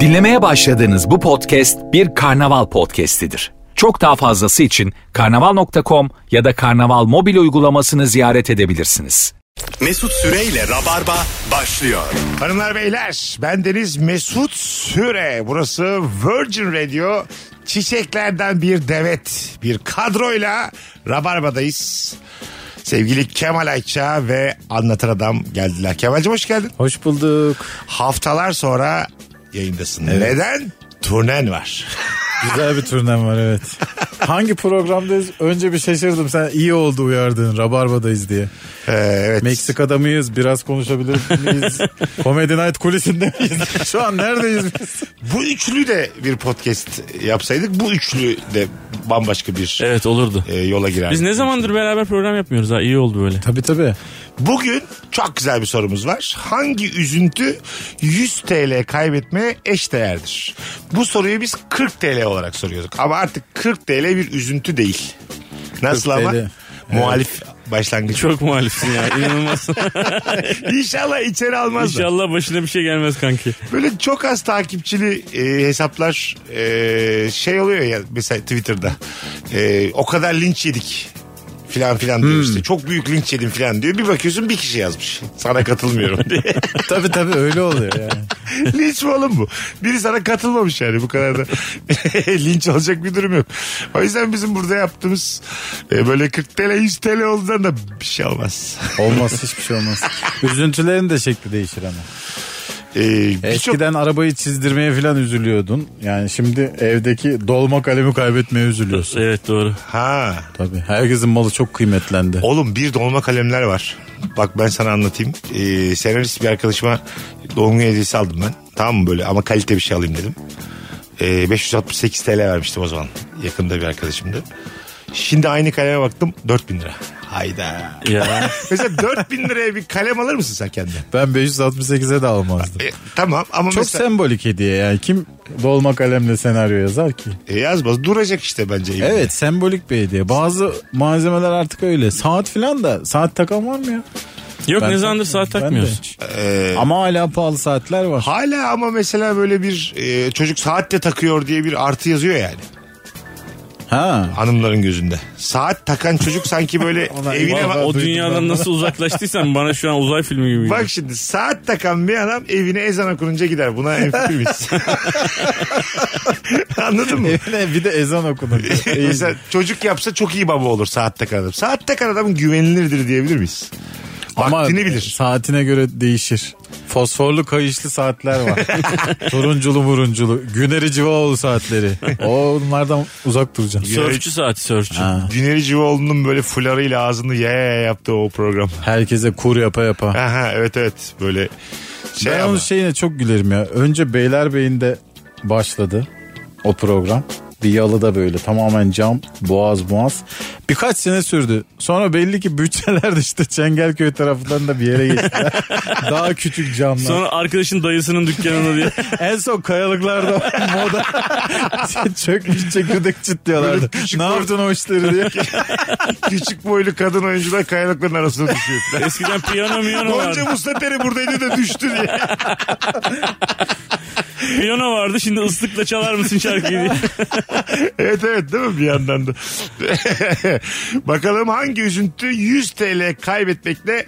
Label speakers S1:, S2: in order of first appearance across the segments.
S1: Dinlemeye başladığınız bu podcast bir karnaval podcastidir. Çok daha fazlası için karnaval.com ya da karnaval mobil uygulamasını ziyaret edebilirsiniz.
S2: Mesut Süreyle Rabarba başlıyor.
S3: Hanımlar beyler ben Deniz Mesut Süre. Burası Virgin Radio. Çiçeklerden bir devet, bir kadroyla Rabarba'dayız. Sevgili Kemal Ayça ve Anlatan Adam geldiler. Kemal'cim hoş geldin.
S4: Hoş bulduk.
S3: Haftalar sonra yayındasın. Neden? Turnen var.
S4: Güzel bir turnem var evet. Hangi programdayız? Önce bir şaşırdım. Sen iyi oldu uyardın. Rabarba'dayız diye.
S3: Ee, evet.
S4: Meksika'da mıyız? Biraz konuşabilir miyiz? Comedy Night kulisinde miyiz? Şu an neredeyiz biz?
S3: Bu üçlü de bir podcast yapsaydık bu üçlü de bambaşka bir
S5: Evet olurdu.
S3: e, yola girer.
S5: Biz ne zamandır beraber program yapmıyoruz ha iyi oldu böyle.
S4: Tabii tabii.
S3: Bugün çok güzel bir sorumuz var. Hangi üzüntü 100 TL kaybetmeye eşdeğerdir? Bu soruyu biz 40 TL olarak soruyorduk. Ama artık 40 TL bir üzüntü değil. Nasıl
S4: 40
S3: ama?
S4: TL.
S3: Muhalif başlangıç.
S5: Çok muhalifsin ya inanılmaz.
S3: İnşallah içeri almazlar.
S5: İnşallah başına bir şey gelmez kanki.
S3: Böyle çok az takipçili e, hesaplar e, şey oluyor ya mesela Twitter'da. E, o kadar linç yedik filan filan
S5: Hmm.
S3: diyor işte. Çok büyük linç yedim filan diyor. Bir bakıyorsun bir kişi yazmış. Sana katılmıyorum diye.
S4: Tabii tabii öyle oluyor yani.
S3: linç mi oğlum bu? Biri sana katılmamış yani bu kadar da linç olacak bir durum yok. O yüzden bizim burada yaptığımız e, böyle 40 TL 100 TL olduğundan da bir şey olmaz.
S4: Olmaz hiçbir şey olmaz. Üzüntülerin de şekli değişir ama.
S3: E, birçok-
S4: Eskiden arabayı çizdirmeye falan üzülüyordun. Yani şimdi evdeki dolma kalemi kaybetmeye üzülüyorsun.
S5: Evet doğru.
S3: Ha.
S4: Tabii. Herkesin malı çok kıymetlendi.
S3: Oğlum bir dolma kalemler var. Bak ben sana anlatayım. Ee, senarist bir arkadaşıma doğum günü hediyesi aldım ben. Tamam mı böyle ama kalite bir şey alayım dedim. Ee, 568 TL vermiştim o zaman. Yakında bir arkadaşımdı. Şimdi aynı kaleme baktım 4000 lira. Hayda.
S5: Ya
S3: Mesela 4000 liraya bir kalem alır mısın sen kendine?
S4: Ben 568'e de almazdım.
S3: E, tamam ama
S4: Çok
S3: mesela
S4: sembolik hediye yani. Kim dolma kalemle senaryo yazar ki?
S3: E, yazmaz duracak işte bence. evinde.
S4: Evet sembolik bir hediye. Bazı malzemeler artık öyle. Saat filan da saat takan var mı ya?
S5: yok
S4: Ben-
S5: ne zamandır saat
S4: ben de
S5: takmıyoruz.
S4: hiç.
S3: Ee,
S4: Ama hala pahalı saatler var.
S3: hala ama mesela böyle bir e, çocuk saatte takıyor diye bir artı yazıyor yani.
S4: Ha.
S3: hanımların gözünde. Saat takan çocuk sanki böyle
S4: Ulan
S3: evine
S4: eyvah,
S3: bak.
S5: O
S4: duydum
S5: dünyadan
S4: ben.
S5: nasıl uzaklaştıysan bana şu an uzay filmi gibi.
S3: Bak şimdi saat takan bir adam evine ezan okununca gider. Buna enfikir miyiz? Anladın mı?
S4: Evine bir de ezan okunur. İyi.
S3: Mesela çocuk yapsa çok iyi baba olur saat takan adam. Saat takan adam güvenilirdir diyebilir miyiz? Vaktini bilir.
S4: saatine göre değişir. Fosforlu kayışlı saatler var. Turunculu murunculu. Güneri Civaoğlu saatleri. O onlardan uzak duracaksın.
S5: Sörfçü saati sörfçü.
S3: Güneri Civoğlu'nun böyle fularıyla ağzını ya ya ya yaptığı o program.
S4: Herkese kur yapa yapa.
S3: Aha, evet evet böyle şey
S4: ben
S3: ama.
S4: onun şeyine çok gülerim ya. Önce Beylerbeyi'nde başladı o program. Bir yalıda böyle tamamen cam, boğaz boğaz. Birkaç sene sürdü. Sonra belli ki bütçeler de işte Çengelköy tarafından da bir yere geçtiler. Daha küçük camlar.
S5: Sonra arkadaşın dayısının dükkanına diye.
S4: En son kayalıklarda moda çökmüş çekirdek çitliyorlardı.
S3: Böyle küçük
S4: Ne
S3: boy-
S4: yaptın o işleri diye.
S3: Küçük boylu kadın oyuncular kayalıkların arasına düşüyor.
S5: Eskiden piyano miyano vardı.
S3: E, Gonca Mustateri buradaydı da düştü diye.
S5: Piyano vardı şimdi ıslıkla çalar mısın şarkıyı diye.
S3: Evet evet değil mi bir yandan da? Bakalım hangi üzüntü 100 TL kaybetmekle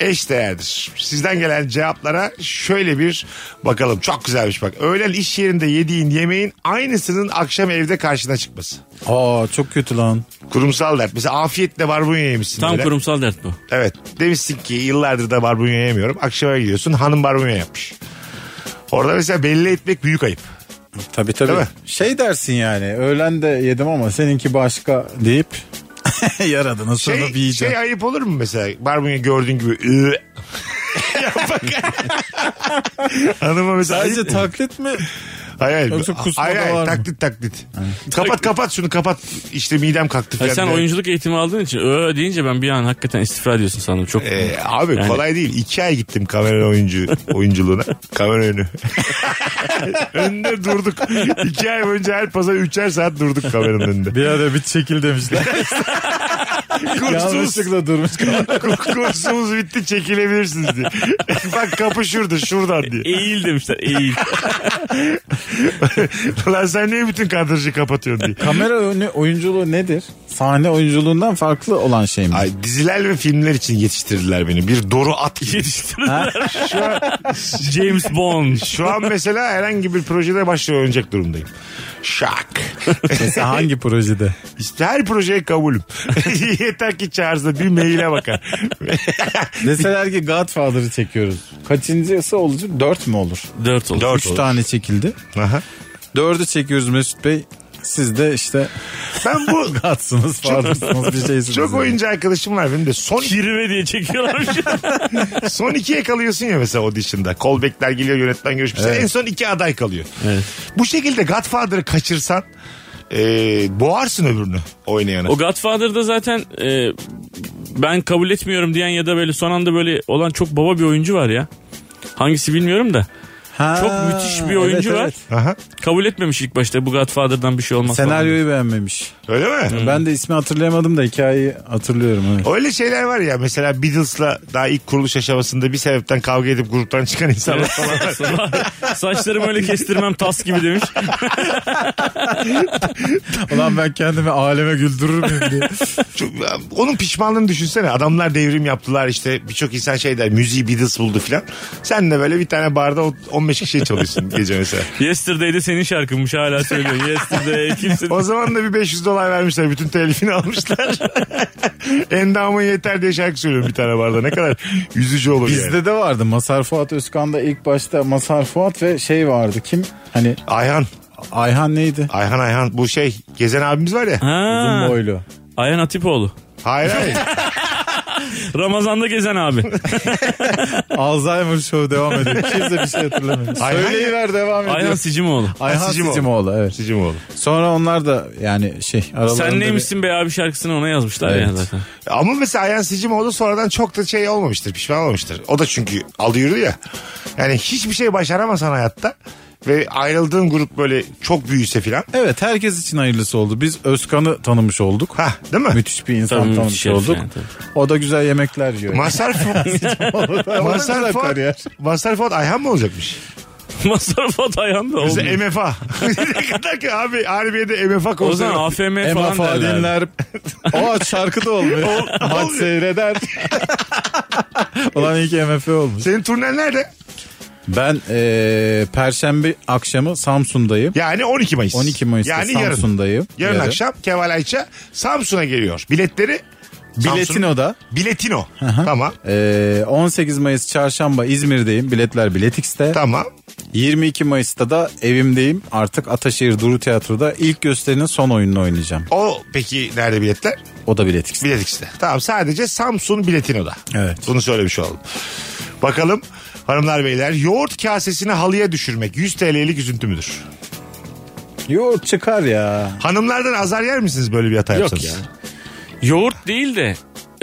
S3: eşdeğerdir? Sizden gelen cevaplara şöyle bir bakalım. Çok güzelmiş bak. Öğlen iş yerinde yediğin yemeğin aynısının akşam evde karşına çıkması.
S4: Aa çok kötü lan.
S3: Kurumsal dert. Mesela afiyetle barbunya yemişsin.
S5: Tam
S3: böyle.
S5: kurumsal dert bu.
S3: Evet. Demişsin ki yıllardır da barbunya yemiyorum. Akşama gidiyorsun hanım barbunya yapmış. Orada mesela belli etmek büyük ayıp.
S4: Tabii tabii.
S3: Değil mi?
S4: Şey dersin yani öğlen de yedim ama seninki başka deyip yaradına sonra bir
S3: Şey,
S4: yiyeceğim.
S3: şey ayıp olur mu mesela? Barbunya gördüğün gibi "Ü." yapmak. Hanıma mesela
S4: Sadece
S3: ayıp-
S4: taklit mi?
S3: hayır, hayır.
S4: Yoksa kusma
S3: hayır,
S4: da
S3: hayır,
S4: var mı?
S3: taklit taklit. kapat kapat şunu kapat. İşte midem kalktı
S5: Ya
S3: falan.
S5: sen
S3: diye.
S5: oyunculuk eğitimi aldığın için ö deyince ben bir an hakikaten istifra ediyorsun sandım. Çok
S3: Ee, abi
S5: Yani-
S3: kolay değil. İki ay gittim kamera oyuncu oyunculuğuna. Kamera önü. Önünde durduk. İki ay boyunca her pazar üçer saat durduk kameranın önünde.
S4: Bir ara bir çekil demişler.
S3: Kursumuz,
S4: Yanlışlıkla durmuş.
S3: kursumuz bitti çekilebilirsiniz diye. Bak kapı şurada şuradan diye.
S5: Eğil demişler eğil.
S3: Lan sen niye bütün kadrajı kapatıyorsun diye.
S4: Kamera önü oyunculuğu nedir? Sahne oyunculuğundan farklı olan şey mi?
S3: Ay, diziler ve filmler için yetiştirdiler beni. Bir doğru at gibi. Şu an,
S5: James Bond.
S3: şu an mesela herhangi bir projede başrol oynayacak durumdayım. Şak.
S4: Mesela hangi projede?
S3: İşte her projeye kabulüm. Yeter ki çağırsa bir maile bakar.
S4: Deseler ki Godfather'ı çekiyoruz. Kaçıncısı olacak? Dört mü olur?
S5: 4 oldu.
S3: Dört
S4: Üç
S3: olur.
S4: tane çekildi.
S3: Aha.
S4: Dördü çekiyoruz Mesut Bey. Siz de işte
S3: Ben bu
S4: God'sınız, Father'sınız bir şeysiniz.
S3: çok
S4: yani.
S3: oyuncu arkadaşım var benim de. Son,
S5: Kirve diye çekiyorlarmış.
S3: son ikiye kalıyorsun ya mesela audition'da. Callback'ler geliyor yönetmen görüşmesi. En son iki aday kalıyor. Bu şekilde Godfather'ı kaçırsan e, boğarsın öbürünü oynayana.
S5: o Godfather'da zaten e, ben kabul etmiyorum diyen ya da böyle son anda böyle olan çok baba bir oyuncu var ya. Hangisi bilmiyorum da.
S4: Ha,
S5: Çok müthiş bir oyuncu
S4: evet,
S5: var.
S4: evet.
S3: Aha.
S5: Kabul etmemiş ilk başta bu Godfather'dan bir şey olmaz falan.
S4: Senaryoyu beğenmemiş.
S3: Öyle mi?
S4: Ben de ismi hatırlayamadım da hikayeyi hatırlıyorum. Evet.
S3: Öyle şeyler var ya mesela Beatles'la daha ilk kuruluş aşamasında bir sebepten kavga edip gruptan çıkan insanlar falan var.
S5: Saçlarımı öyle kestirmem tas gibi demiş.
S4: Ulan ben kendimi aleme güldürür müyüm diye.
S3: Çok- onun pişmanlığını düşünsene. Adamlar devrim yaptılar işte birçok insan şey der müziği Beatles buldu filan. Sen de böyle bir tane barda o- 15 kişiye çalıyorsun gece mesela.
S5: Yesterday'de senin şarkınmış hala söylüyorsun. Yesterday kimse...
S3: O zaman da bir 500 dolar vermişler. Bütün telifini almışlar. Endamın yeter diye şarkı söylüyorum bir tane barda. Ne kadar yüzücü olur yani.
S4: Bizde de vardı. Masar Fuat Özkan'da ilk başta Masar Fuat ve şey vardı. Kim? Hani
S3: Ayhan.
S4: Ayhan neydi?
S3: Ayhan Ayhan. Bu şey gezen abimiz var ya.
S5: Ha,
S4: Uzun boylu.
S5: Ayhan Atipoğlu.
S3: Hayır hayır.
S5: Ramazan'da gezen abi.
S4: Alzheimer Show devam ediyor. Kimse bir şey hatırlamıyor.
S3: Ayhan-
S4: Söyleyiver devam ediyor.
S5: Ayhan Sicimoğlu.
S4: Ayhan
S3: Sicimoğlu.
S4: Sicimoğlu. Evet.
S3: Sizcim oğlum.
S4: Sonra onlar da yani şey aralarında
S5: Sen
S4: bir-
S5: neymişsin be abi şarkısını ona yazmışlar ya
S4: Evet.
S5: zaten.
S3: Ama mesela Ayhan Sicim oldu sonradan çok da şey olmamıştır. Pişman olmamıştır. O da çünkü aldı yürüdü ya. Yani hiçbir şey başaramasan hayatta ve ayrıldığın grup böyle çok büyüse filan.
S4: Evet herkes için hayırlısı oldu. Biz Özkan'ı tanımış olduk.
S3: Ha değil mi?
S4: Müthiş bir insan
S5: Tabii,
S4: tanımış
S5: müthiş herif
S4: olduk.
S5: yani, tabii.
S4: o da güzel yemekler yiyor.
S3: Mazhar Fuat. Mazhar
S4: güzel
S3: Fuat.
S4: kariyer.
S3: Mazhar Fuat Ayhan mı olacakmış?
S5: Masarfat Ayhan da
S3: Bize
S5: olmuyor.
S3: MFA. ne kadar ki abi haribiyede MFA
S5: O zaman
S3: konuşuyor.
S5: AFM
S4: Emma
S5: falan derler.
S4: Fadinler. o şarkı da olmuyor. Maç seyreder. Ulan iyi ki MF olmuş.
S3: Senin turnen nerede?
S4: Ben eee, perşembe akşamı Samsun'dayım.
S3: Yani 12 Mayıs.
S4: 12 Mayıs'ta
S3: yani yarın.
S4: Samsun'dayım.
S3: Yarın akşam Kemal Ayça Samsun'a geliyor. Biletleri Samsun-
S4: Biletino'da.
S3: Biletino. Tamam.
S4: Eee, 18 E, Mayıs çarşamba İzmir'deyim. Biletler Biletix'te.
S3: Tamam.
S4: 22 Mayıs'ta da evimdeyim. Artık Ataşehir Duru Tiyatro'da ilk gösterinin son oyununu oynayacağım.
S3: O peki nerede biletler?
S4: O da Biletix'te.
S3: Bilet X'te. Tamam sadece Samsun Biletino'da.
S4: Evet.
S3: Bunu söylemiş olalım. Bakalım hanımlar beyler yoğurt kasesini halıya düşürmek 100 TL'lik üzüntü müdür?
S4: Yoğurt çıkar ya.
S3: Hanımlardan azar yer misiniz böyle bir hata
S5: Yok
S3: yapsanız?
S5: ya. Yoğurt değil de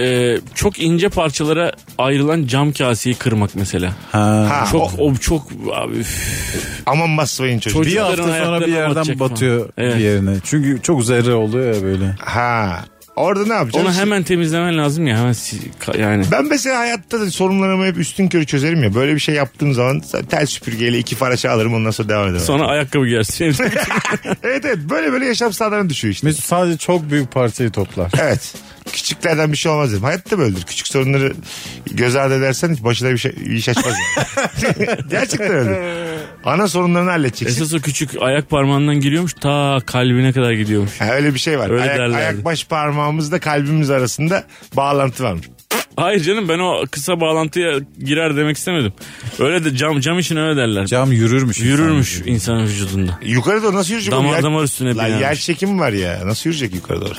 S5: e, çok ince parçalara ayrılan cam kaseyi kırmak mesela.
S4: Ha.
S3: Ha,
S5: çok
S3: o-
S5: o, çok abi, üf.
S3: aman basmayın çocuğu.
S5: Çocuk-
S4: Bir hafta
S5: Çocukların
S4: sonra bir
S5: ayaklarına
S4: yerden
S5: batacak falan.
S4: batıyor
S5: Evet.
S4: bir yerine. Çünkü çok zerre oluyor ya böyle.
S3: Ha. Orada ne yapacağız?
S5: onu hemen temizlemen lazım ya hemen si- ka- yani.
S3: Ben mesela hayatta da sorunlarımı hep üstün körü çözerim ya. Böyle bir şey yaptığım zaman tel süpürgeyle iki faraşa alırım ondan sonra devam ederim.
S5: Sonra ayakkabı giyersin.
S3: evet evet böyle böyle yaşam standartım düşüyor işte.
S4: Mesut sadece çok büyük parçayı toplar.
S3: Evet. Küçüklerden bir şey olmaz dedim. Hayatta böyledir. Küçük sorunları göz ardı edersen hiç başına bir, şey, bir iş açmaz. yani. Gerçekten öyle. Ana sorunlarını halledeceksin.
S5: Esas o küçük ayak parmağından giriyormuş ta kalbine kadar gidiyormuş.
S3: Ha, öyle bir şey var.
S5: Öyle
S3: ayak,
S5: derlerdi.
S3: ayak baş parmağımızla kalbimiz arasında bağlantı varmış.
S5: Hayır canım ben o kısa bağlantıya girer demek istemedim. Öyle de cam cam için öyle derler.
S4: Cam yürürmüş.
S5: Yürürmüş
S4: insan.
S5: insanın vücudunda.
S3: Yukarı doğru nasıl yürüyecek?
S5: Damar
S3: Oğlum,
S5: damar üstüne
S3: Lan yer
S5: binermiş.
S3: çekimi var ya. Nasıl yürüyecek yukarı doğru?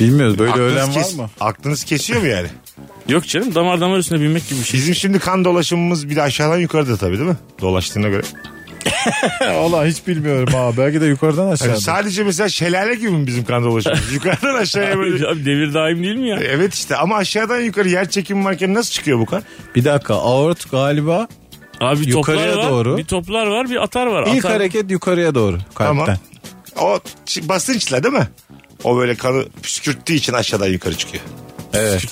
S4: Bilmiyoruz böyle
S3: Aklınız
S4: ölen var
S3: kes-
S4: mı?
S3: Aklınız kesiyor mu yani?
S5: Yok canım damar damar üstüne binmek gibi bir şey.
S3: Bizim şimdi kan dolaşımımız bir de aşağıdan yukarıda tabii değil mi? Dolaştığına göre.
S4: Allah hiç bilmiyorum abi. Belki de yukarıdan
S3: Hani
S4: aşağıdan.
S3: sadece mesela şelale gibi mi bizim kan dolaşımımız? yukarıdan aşağıya
S5: Abi,
S3: böyle.
S5: abi devir daim değil mi ya?
S3: Evet işte ama aşağıdan yukarı yer çekimi varken nasıl çıkıyor bu kan?
S4: Bir dakika aort galiba
S5: Abi bir toplar
S4: Yukarıya
S5: var,
S4: doğru.
S5: bir toplar var, bir atar var.
S4: ilk
S5: atar.
S4: hareket yukarıya doğru kalpten.
S3: Tamam. O ç- basınçla değil mi? O böyle kanı püskürttüğü için aşağıdan yukarı çıkıyor.
S4: Evet.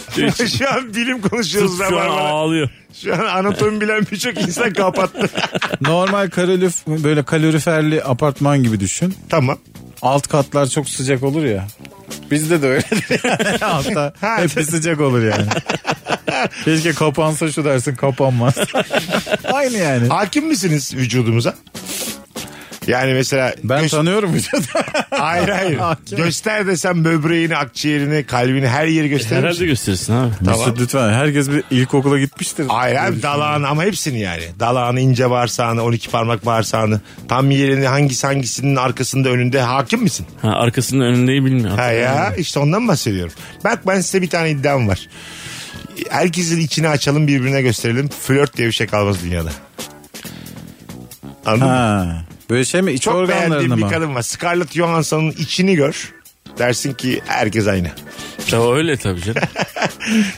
S3: şu an bilim konuşuyoruz.
S5: Şu an
S3: Rabarba'da.
S5: ağlıyor.
S3: Şu an anatomi bilen birçok insan kapattı.
S4: Normal kalorif böyle kaloriferli apartman gibi düşün.
S3: tamam.
S4: Alt katlar çok sıcak olur ya. Bizde de öyle. Altta hep sıcak olur yani. Keşke kapansa şu dersin kapanmaz. Aynı yani.
S3: Hakim misiniz vücudumuza? Yani mesela
S4: Ben
S3: göz-
S4: tanıyorum vücudu.
S3: hayır hayır.
S4: Hakim.
S3: Göster desem böbreğini, akciğerini, kalbini her yeri gösterir misin?
S5: Herhalde gösterirsin abi.
S4: Mesut lütfen herkes bir ilkokula gitmiştir.
S3: Hayır abi dalağını ama hepsini yani. Dalağını, ince bağırsağını, 12 parmak bağırsağını, tam yerini hangisi hangisinin arkasında önünde hakim misin?
S5: Ha, arkasının önündeyi bilmiyorum.
S3: Ha ya işte ondan bahsediyorum. Bak ben size bir tane iddiam var. Herkesin içini açalım birbirine gösterelim. Flört diye bir şey kalmaz dünyada. Anladın mı?
S4: Ha. Böyle şey mi? İç
S3: Çok beğendiğim
S4: organlarını
S3: bir
S4: mı?
S3: kadın var. Scarlett Johansson'un içini gör. Dersin ki herkes aynı.
S5: Tabii öyle tabii canım.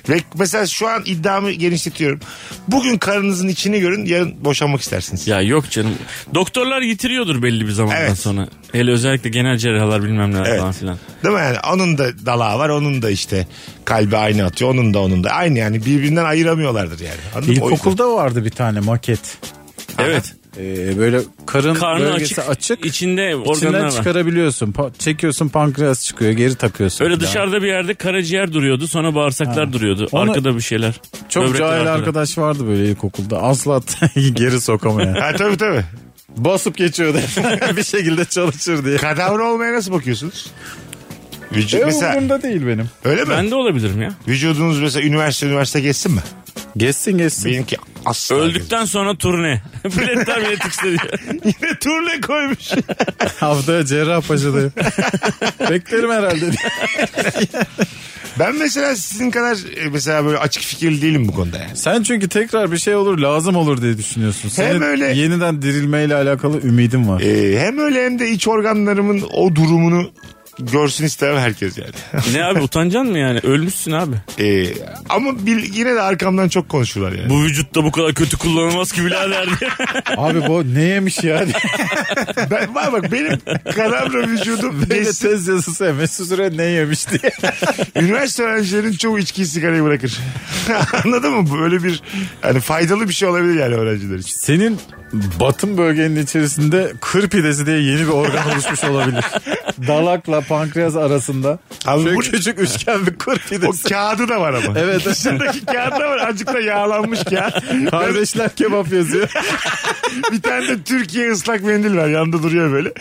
S3: Ve mesela şu an iddiamı genişletiyorum. Bugün karınızın içini görün yarın boşanmak istersiniz.
S5: ya yok canım. Doktorlar yitiriyordur belli bir zamandan
S3: Evet.
S5: sonra. Hele özellikle genel cerrahlar bilmem neler
S3: Evet.
S5: falan filan.
S3: Değil mi yani? Onun da dalağı var, onun da işte kalbi aynı atıyor, onun da onun da. Aynı yani birbirinden ayıramıyorlardır yani. Anladın mı? O yüzden.
S4: İlkokulda vardı bir tane maket.
S5: Evet.
S4: Ee, böyle karın
S5: Karnı
S4: bölgesi
S5: açık,
S4: açık.
S5: içinde organlar
S4: İçinden
S5: var.
S4: çıkarabiliyorsun. Pa- çekiyorsun pankreas çıkıyor. Geri takıyorsun.
S5: Öyle
S4: falan.
S5: dışarıda bir yerde karaciğer duruyordu. Sonra bağırsaklar duruyordu.
S4: Onu-
S5: Arkada bir şeyler.
S4: Çok
S5: Böbrekler
S4: cahil
S5: arkada.
S4: arkadaş vardı böyle ilkokulda. Asla geri sokamıyor.
S3: Ha, tabii tabii.
S4: Basıp geçiyordu. bir şekilde çalışır diye.
S3: Kadavra olmaya nasıl bakıyorsunuz? Vücut
S4: Ev
S3: mesela
S4: umurumda değil benim.
S3: öyle mi?
S5: Ben de olabilirim ya.
S3: Vücudunuz mesela üniversite üniversite geçsin mi?
S4: Geçsin geçsin.
S3: Benimki asla. gezmez.
S5: Öldükten sonra turne. Biletler bile tıksın
S3: Yine turne koymuş.
S4: Haftaya Cerrahpaşa'dayım. Beklerim herhalde.
S3: ben mesela sizin kadar e, mesela böyle açık fikirli değilim bu konuda yani.
S4: Sen çünkü tekrar bir şey olur lazım olur diye düşünüyorsun. Senin
S3: öyle.
S4: yeniden dirilmeyle alakalı ümidim var.
S3: E, hem öyle hem de iç organlarımın o durumunu görsün istemem herkes yani.
S5: Ne abi utancan mı yani? Ölmüşsün abi.
S3: E, ama bil- yine de arkamdan çok konuşurlar yani.
S5: Bu vücutta bu kadar kötü kullanılmaz ki birader diye.
S4: Abi bu ne yemiş ya?
S3: Ben, bak bak benim kadavra vücudum
S4: Böyle
S3: geçsin.
S4: tez yazısı ya, Mesut Süre ne yemiş diye.
S3: Üniversite öğrencilerin çoğu içkiyi sigarayı bırakır. Anladın mı? Böyle bir hani faydalı bir şey olabilir yani öğrenciler için.
S4: Senin batın bölgenin içerisinde kır pidesi diye yeni bir organ oluşmuş olabilir. Dalakla pankreas arasında.
S3: Abi
S4: Şöyle
S3: bu-
S4: küçük üçgen bir kır
S3: O
S4: pidesi.
S3: kağıdı da var ama.
S4: Evet.
S3: Dışındaki kağıt da var. Azıcık da yağlanmış kağıt.
S4: Kardeşler kebap yazıyor.
S3: bir tane de Türkiye ıslak mendil var. Yanında duruyor böyle.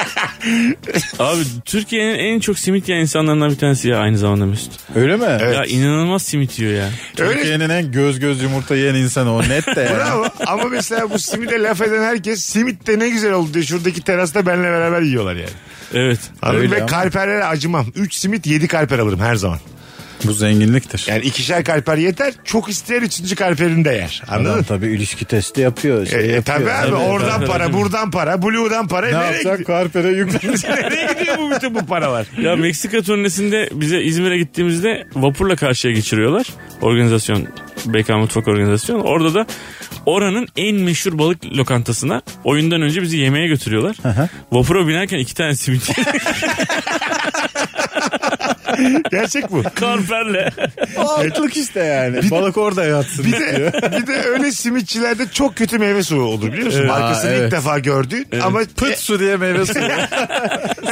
S5: Abi Türkiye'nin en çok simit yiyen insanlarından bir tanesi ya aynı zamanda Mesut.
S4: Öyle mi?
S5: Ya inanılmaz simit yiyor ya.
S3: Öyle
S4: Türkiye'nin en göz göz yumurta yiyen insanı o net de yani.
S3: Bravo. Ama mesela bu simide laf eden herkes simit de ne güzel oldu diye şuradaki terasta benle beraber yiyorlar yani.
S5: Evet.
S3: Anladın mı?
S4: Öyle
S3: Ve
S4: ama.
S3: kalperlere acımam. 3 simit 7 kalper alırım her zaman.
S4: Bu zenginliktir.
S3: Yani ikişer kalper yeter. Çok isteyen üçüncü kalperini de yer. Anladın
S4: Adam
S3: mı?
S4: tabii ilişki testi yapıyor. Şey
S3: E, e,
S4: yapıyor.
S3: tabii abi
S5: Tabii,
S3: oradan
S5: tabii,
S3: para,
S5: tabii.
S3: buradan para, blue'dan para.
S4: Ne
S3: nereye,
S4: yapacak? Karpere yüklenecek.
S3: gidiyor? nereye gidiyor bu bütün bu paralar?
S5: Ya Meksika turnesinde bize İzmir'e gittiğimizde vapurla karşıya geçiriyorlar. Organizasyon BK Mutfak Organizasyon. Orada da oranın en meşhur balık lokantasına oyundan önce bizi yemeğe götürüyorlar. Vapura binerken iki tane simit yedik.
S3: Gerçek bu.
S5: karperle.
S4: Altlık işte yani. Balık orada yatsın.
S3: Bir de, bir de öyle simitçilerde çok kötü meyve suyu olur biliyor musun? Markasını
S4: Aa,
S3: ilk
S4: evet.
S3: defa gördün ama e,
S4: Pıt su diye meyve suyu.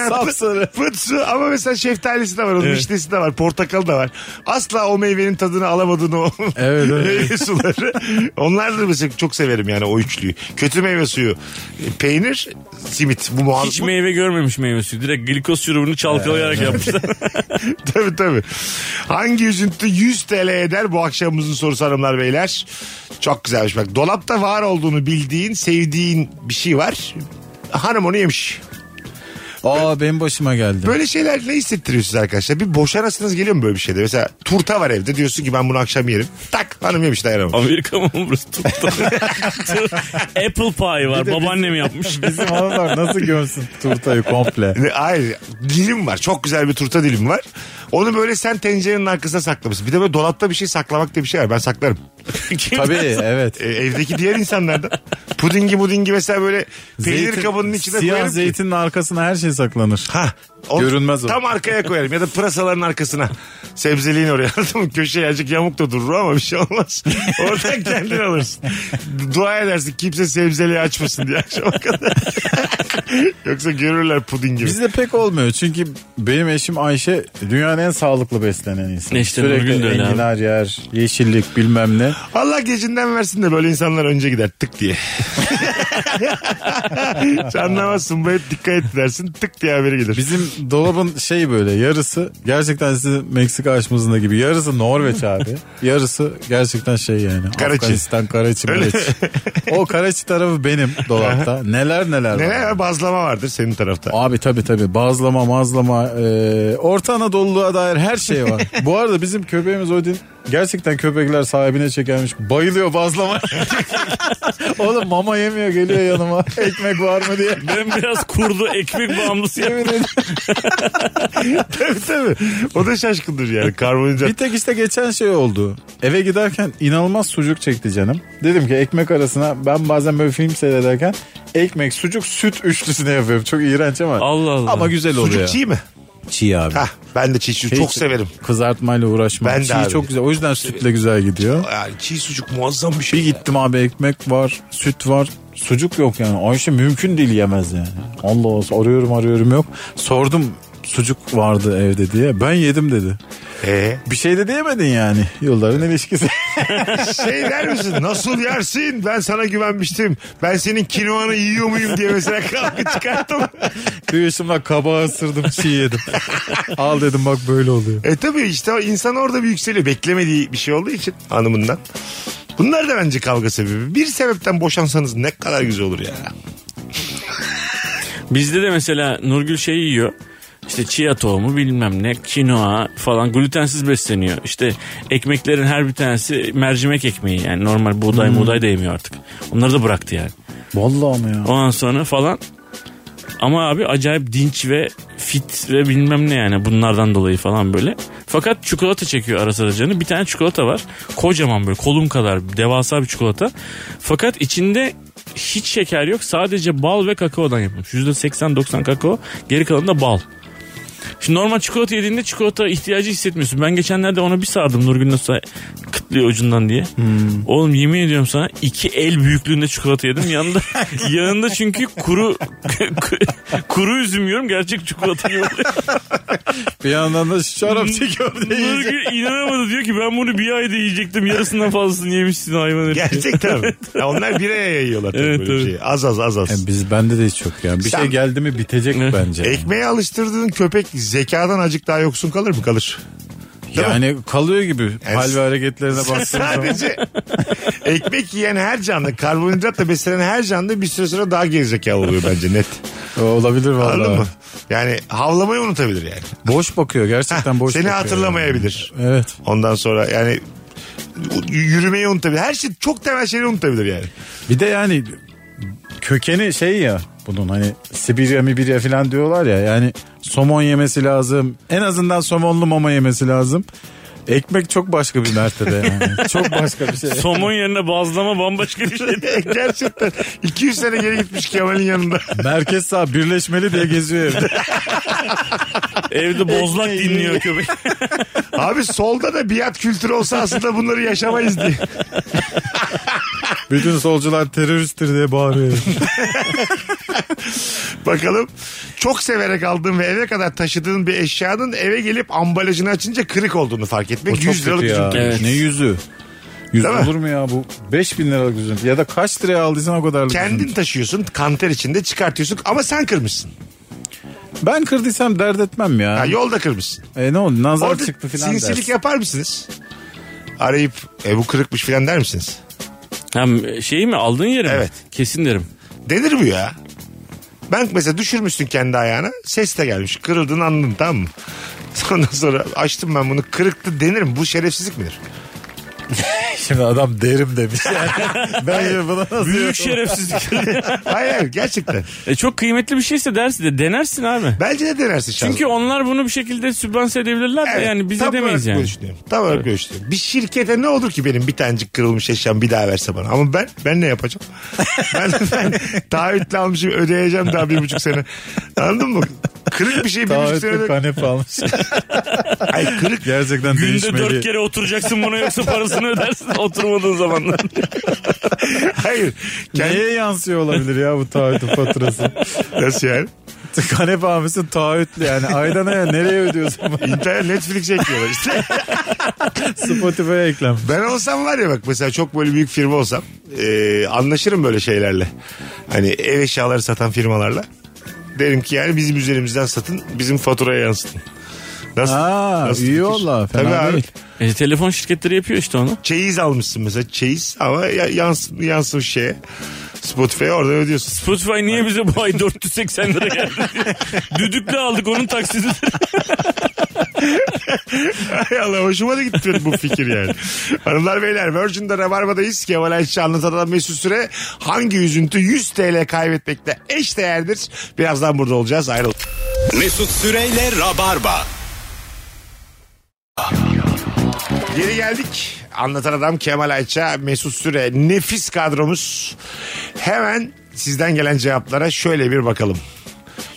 S4: Sapsarı.
S3: Fıt su ama mesela şeftalisi de var, onun vişnesi de var, portakalı da var. Asla o meyvenin tadını alamadığın o
S4: Evet, evet.
S3: meyve suları. Onlar da mesela çok severim yani o üçlüyü. Kötü meyve suyu, E, peynir, simit. Bu muhabbet.
S5: Hiç meyve görmemiş meyve suyu. Direkt glikoz şurubunu çalkalayarak yapmışlar.
S3: tabii tabii. Hangi üzüntü 100 TL eder bu akşamımızın sorusu hanımlar beyler. Çok güzelmiş bak. Dolapta var olduğunu bildiğin, sevdiğin bir şey var. Hanım onu yemiş.
S4: Aa benim başıma geldi.
S3: Böyle şeyler ne hissettiriyor size arkadaşlar? Bir boşanasınız geliyor mu böyle bir şeyde? Mesela turta var evde diyorsun ki ben bunu akşam yerim. Tak hanım yemiş dayanamam.
S5: Amerika mı burası? Tuttu. Apple pie var. Babaannem yapmış.
S4: Bizim hanımlar nasıl gömsün turtayı komple.
S3: Ne- Hayır dilim var çok güzel bir turta dilim var. Onu böyle sen tencerenin arkasına saklamışsın. Bir de böyle dolapta bir şey saklamak diye bir şey var ben saklarım.
S5: Kim-
S4: Tabii evet.
S3: E, evdeki diğer insanlardan. Pudingi pudingi mesela böyle peynir
S4: Zeytin-
S3: kabının içine
S4: Siyah
S3: koyarım ki.
S4: zeytinin arkasına her şey saklanır.
S3: Ha, o-
S4: Görünmez o.
S3: Tam arkaya koyarım ya da pırasaların arkasına. Sebzeliğin oraya anladın mı? Köşeye azıcık yamuk da durur ama bir şey olmaz. Oradan kendin alırsın. Dua edersin kimse sebzeliği açmasın diye akşama kadar. Yoksa görürler puding gibi.
S4: Bizde pek olmuyor çünkü benim eşim Ayşe dünyanın en sağlıklı beslenen insanı.
S5: İşte Nurgül de
S4: Sürekli
S5: öyle abi.
S4: enginar yer, yeşillik bilmem ne.
S3: Allah gecinden versin de böyle insanlar önce gider tık diye. Hiç anlamazsın bu hep dikkat et dersin tık diye haberi gelir.
S4: Bizim dolabın şey böyle yarısı gerçekten sizin Meksika açmazında gibi yarısı Norveç abi. Yarısı gerçekten şey yani.
S3: Karaçi.
S4: Afganistan, Karaçi,
S3: Öyle.
S4: Maraçi. O Karaçi tarafı benim dolapta. Neler neler var.
S3: Neler bazlama vardır senin tarafta.
S4: Abi tabii tabii bazlama mazlama e, Orta Anadolu'ya dair her şey var. Bu arada bizim köpeğimiz Odin gerçekten köpekler sahibine çekermiş. Bayılıyor bazlama. Oğlum mama yemiyor geliyor yanıma ekmek var mı diye.
S5: Ben biraz kurdu ekmek bağımlısı ya.
S4: Yemin ediyorum.
S3: tabii tabii. O da şaşkındır yani karbonhidrat.
S4: Bir tek işte geçen şey oldu. Eve giderken inanılmaz sucuk çekti canım. Dedim ki ekmek arasına ben bazen böyle film seyrederken ekmek, sucuk, süt üçlüsüne yapıyorum. Çok iğrenç ama.
S5: Allah Allah.
S4: Ama güzel oluyor.
S3: Sucuk çiğ mi?
S4: Çiğ abi.
S3: Hah, ben de çiğ sucuk çok
S4: Hiç
S3: severim.
S4: Kızartmayla uğraşmam.
S3: Ben de
S4: Çiğ
S3: abi.
S4: çok güzel. O yüzden sütle güzel gidiyor.
S3: Yani çiğ sucuk muazzam bir şey.
S4: Bir gittim abi ekmek var, süt var. Sucuk yok yani. Ayşe mümkün değil yemez yani. Allah olsun arıyorum arıyorum yok. Sordum sucuk vardı evde diye. Ben yedim dedi.
S3: Ee,
S4: Bir şey de diyemedin yani. Yılların ilişkisi.
S3: şey der misin? Nasıl yersin? Ben sana güvenmiştim. Ben senin kinoanı yiyor muyum diye mesela kavga çıkarttım.
S4: Duyuşumla kabağı ısırdım çiğ yedim. Al dedim bak böyle oluyor.
S3: E tabii işte o insan orada bir yükseliyor. Beklemediği bir şey olduğu için hanımından. Bunlar da bence kavga sebebi. Bir sebepten boşansanız ne kadar güzel olur ya.
S5: Bizde de mesela Nurgül şey yiyor. İşte chia tohumu bilmem ne kinoa falan glutensiz besleniyor. İşte ekmeklerin her bir tanesi mercimek ekmeği yani normal buğday muğday da yemiyor artık. Onları da bıraktı yani.
S4: Vallahi mi ya?
S5: Ondan sonra falan ama abi acayip dinç ve fit ve bilmem ne yani bunlardan dolayı falan böyle. Fakat çikolata çekiyor ara sıra canı. Bir tane çikolata var. Kocaman böyle kolum kadar devasa bir çikolata. Fakat içinde hiç şeker yok. Sadece bal ve kakaodan yapılmış. %80-90 kakao. Geri kalanı da bal. Şimdi normal çikolata yediğinde çikolata ihtiyacı hissetmiyorsun. Ben geçenlerde ona bir sardım Nurgül nasıl kıtlıyor ucundan diye. Oğlum yemin ediyorum sana iki el büyüklüğünde çikolata yedim. Yanında, yanında çünkü kuru kuru üzüm yiyorum gerçek çikolata yiyorum.
S4: Bir yandan da şarap çekiyor. diye
S5: Nurgül inanamadı diyor ki ben bunu bir ayda yiyecektim. Yarısından fazlasını yemişsin hayvan herif.
S3: Gerçekten mi? Ya onlar bireye yayıyorlar tabii
S5: Evet,
S3: böyle bir
S5: tabii.
S3: şeyi. Az az az az.
S4: Yani E, biz bende de hiç yok yani. Bir
S3: Sen-
S4: şey geldi mi bitecek
S5: Ne?
S4: bence.
S3: Ekmeğe alıştırdığın köpek zekadan acık daha yoksun kalır mı? Kalır. Değil mi?
S4: yani kalıyor gibi.
S3: Yani-
S4: Hal ve hareketlerine baktığım zaman.
S3: Sadece ekmek yiyen her canlı, karbonhidratla beslenen her canlı bir süre sonra daha gerizekalı oluyor bence net.
S4: E, Olabilir
S3: Anladın
S4: vallahi.
S3: mı? Yani havlamayı unutabilir yani.
S4: Boş bakıyor gerçekten boş
S3: Seni
S4: bakıyor
S3: hatırlamayabilir.
S4: yani. Evet.
S3: Ondan sonra yani yürümeyi unutabilir. Her şey çok temel şeyleri unutabilir yani.
S4: Bir de yani kökeni şey ya bunun hani Sibirya Mibirya falan diyorlar ya yani somon yemesi lazım. En azından somonlu mama yemesi lazım. Ekmek çok başka bir mertebe yani. çok başka bir şey.
S5: Somon yerine bazlama bambaşka bir şey.
S3: Gerçekten 200 sene geri gitmiş Kemal'in yanında.
S4: Merkez sağ birleşmeli diye geziyor evde.
S5: Evde bozlak dinliyor köpek.
S3: Abi solda da biat kültürü olsa aslında bunları yaşamayız diye.
S4: Bütün solcular teröristtir diye bağırıyor.
S3: Bakalım çok severek aldığın ve eve kadar taşıdığın bir eşyanın eve gelip ambalajını açınca kırık olduğunu fark
S4: O
S3: etmek.
S4: çok
S3: 100 liralık
S4: kötü ya.
S3: üzüntü.
S5: Evet.
S4: Ne yüzü? Yüz
S3: Değil mi?
S4: olur mu ya bu? 5000 liralık üzüntü. Ya da kaç liraya aldıysan o kadarlık
S3: Kendin
S4: üzüntü.
S3: taşıyorsun kanter içinde çıkartıyorsun ama sen kırmışsın.
S4: Ben kırdıysam dert etmem ya.
S3: Ha, yolda kırmışsın.
S4: E ne oldu? Nazar
S3: Orada
S4: çıktı filan
S3: sinsilik
S4: dersin.
S3: yapar mısınız? Arayıp e, bu kırıkmış filan der misiniz?
S5: Hem şey mi aldığın yere mi?
S3: Evet.
S5: Kesin derim.
S3: Denir bu ya. Ben mesela düşürmüşsün kendi ayağına. Ses de gelmiş. Kırıldığını anladın tamam mı? Ondan sonra açtım ben bunu. Kırıktı denir mi? Bu şerefsizlik midir?
S4: Şimdi adam derim demiş. ben şimdi buna nasıl
S5: Büyük şerefsizlik.
S3: Hayır hayır, gerçekten.
S5: e çok kıymetli bir şeyse dersi de denersin abi.
S3: Bence de denersin şahsen.
S5: Çünkü onlar bunu bir şekilde sübvanse edebilirler de
S3: Evet,
S5: yani bize
S3: tam
S5: demeyiz
S3: olarak
S5: yani.
S3: böyle düşünüyorum. Tam olarak böyle düşünüyorum. Bir şirkete ne olur ki benim bir tanecik kırılmış eşyam bir daha verse bana. Ama ben ben ne yapacağım? ben, ben taahhütle almışım ödeyeceğim daha bir buçuk sene. Anladın mı? Kırık bir şey bir buçuk
S4: Taahhütlü
S3: sene.
S4: kanepe almış.
S3: Ay kırık.
S4: Gerçekten
S5: Günde dört
S4: değişmeli.
S5: kere oturacaksın buna yoksa parasını ödersin oturmadığın zamanlar.
S3: Hayır. Kendi,
S4: Neye yansıyor olabilir ya bu taahhütün faturası?
S3: nasıl yani?
S4: kanepe almışsın taahhütlü yani. Aydan aya nereye ödüyorsun?
S3: İnternet Netflix'e ekliyorlar işte.
S4: Spotify'a eklem.
S3: Ben olsam var ya bak mesela çok böyle büyük firma olsam e, anlaşırım böyle şeylerle. Hani ev eşyaları satan firmalarla. Derim ki yani bizim üzerimizden satın bizim faturaya yansıtın. Nasıl?
S4: Aa,
S3: nasıl
S4: iyi
S3: fikir?
S4: valla, fena
S3: Tabii abi.
S4: değil.
S5: E, telefon şirketleri yapıyor işte onu.
S3: Çeyiz almışsın mesela çeyiz ama ya, yansın, yansın şeye. Spotify'a oradan ödüyorsun.
S5: Spotify niye bize bu ay 480 lira geldi? diye. Düdükle aldık onun taksidi.
S3: Hay Allah hoşuma da gitti bu fikir yani. Hanımlar beyler Virgin'de Rabarba'dayız. Kemal Ayşe anlatan Mesut Süre hangi üzüntü 100 TL kaybetmekle eş değerdir? Birazdan burada olacağız ayrıl.
S2: Mesut Süreyle Rabarba.
S3: Geri geldik. Anlatan adam Kemal Ayça, Mesut Süre. Nefis kadromuz. Hemen sizden gelen cevaplara şöyle bir bakalım.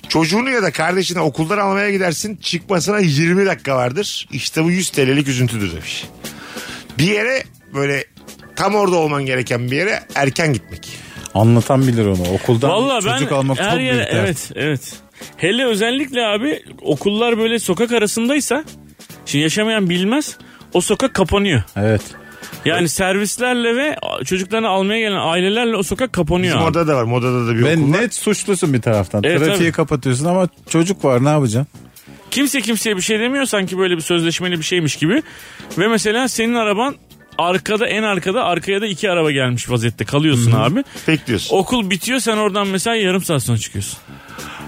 S3: Çocuğunu ya da kardeşini okuldan almaya gidersin. Çıkmasına 20 dakika vardır. İşte bu 100 TL'lik üzüntüdür demiş. Bir yere böyle tam orada olman gereken bir yere erken gitmek.
S4: Anlatan bilir onu. Okuldan
S5: Valla ben
S4: çocuk almak
S5: her
S4: çok
S5: yere-
S4: büyük dert.
S5: evet evet. Hele özellikle abi okullar böyle sokak arasındaysa şimdi yaşamayan bilmez o sokak kapanıyor.
S4: Evet.
S5: Yani servislerle ve çocuklarını almaya gelen ailelerle o sokak kapanıyor.
S3: Bizim
S5: abi.
S3: orada da var. Moda'da da bir
S4: Ve
S3: okul var.
S4: net suçlusun bir taraftan.
S5: Evet,
S4: Trafiği
S5: tabii.
S4: kapatıyorsun ama çocuk var ne yapacaksın?
S5: Kimse kimseye bir şey demiyor sanki böyle bir sözleşmeli bir şeymiş gibi. Ve mesela senin araban arkada en arkada arkaya da iki araba gelmiş vaziyette kalıyorsun abi.
S3: Bekliyorsun.
S5: Okul bitiyor sen oradan mesela yarım saat sonra çıkıyorsun.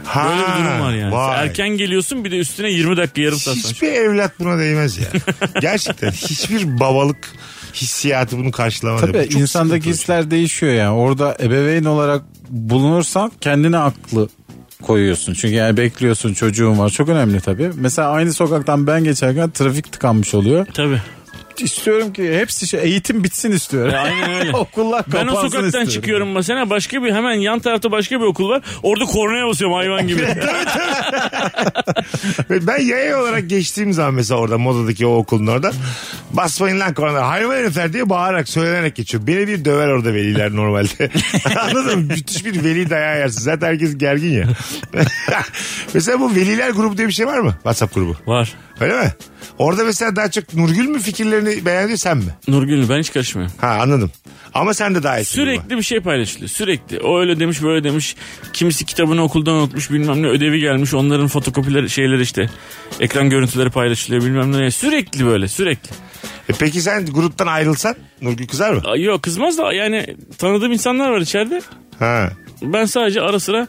S3: Ha,
S5: Böyle bir durum var yani.
S3: vay.
S5: Erken geliyorsun bir de üstüne 20 dakika yarım saat sonra.
S3: Hiçbir evlat buna değmez ya. Gerçekten hiçbir babalık hissiyatı bunu karşılamaz.
S4: Tabii
S3: Bu çok
S4: insandaki
S3: sıkıntı.
S4: hisler değişiyor yani. Orada ebeveyn olarak bulunursan kendine aklı koyuyorsun. Çünkü yani bekliyorsun çocuğun var. Çok önemli tabii. Mesela aynı sokaktan ben geçerken trafik tıkanmış oluyor.
S5: Tabii.
S4: İstiyorum ki hepsi şey, eğitim bitsin istiyorum.
S5: Ya E, aynen öyle.
S4: Okullar
S5: Ben
S4: kapansın
S5: o sokaktan
S4: istiyorum.
S5: çıkıyorum mesela başka bir hemen yan tarafta başka bir okul var. Orada kornaya basıyorum hayvan gibi.
S3: Ve Ben yaya olarak geçtiğim zaman mesela orada modadaki o okulun orada basmayın lan korona hayvan herifler diye bağırarak söylenerek geçiyor. Beni bir döver orada veliler normalde. Anladın mı? Müthiş bir veli dayağı yersin. Zaten herkes gergin ya. mesela bu veliler grubu diye bir şey var mı? WhatsApp grubu.
S5: var.
S3: Öyle mi? Orada mesela daha çok Nurgül mü fikirlerini beğendi sen mi?
S5: Nurgül ben hiç karışmıyorum.
S3: Ha anladım. Ama sen de daha iyisin. gruba.
S5: Sürekli bir şey paylaşılıyor. Sürekli. O öyle demiş böyle demiş. Kimisi kitabını okuldan unutmuş bilmem ne ödevi gelmiş. Onların fotokopileri şeyler işte. Ekran görüntüleri paylaşılıyor bilmem ne. Sürekli böyle sürekli.
S3: E peki sen gruptan ayrılsan Nurgül kızar mı?
S5: Ay, Yok kızmaz da yani tanıdığım insanlar var içeride.
S3: Ha.
S5: Ben sadece ara sıra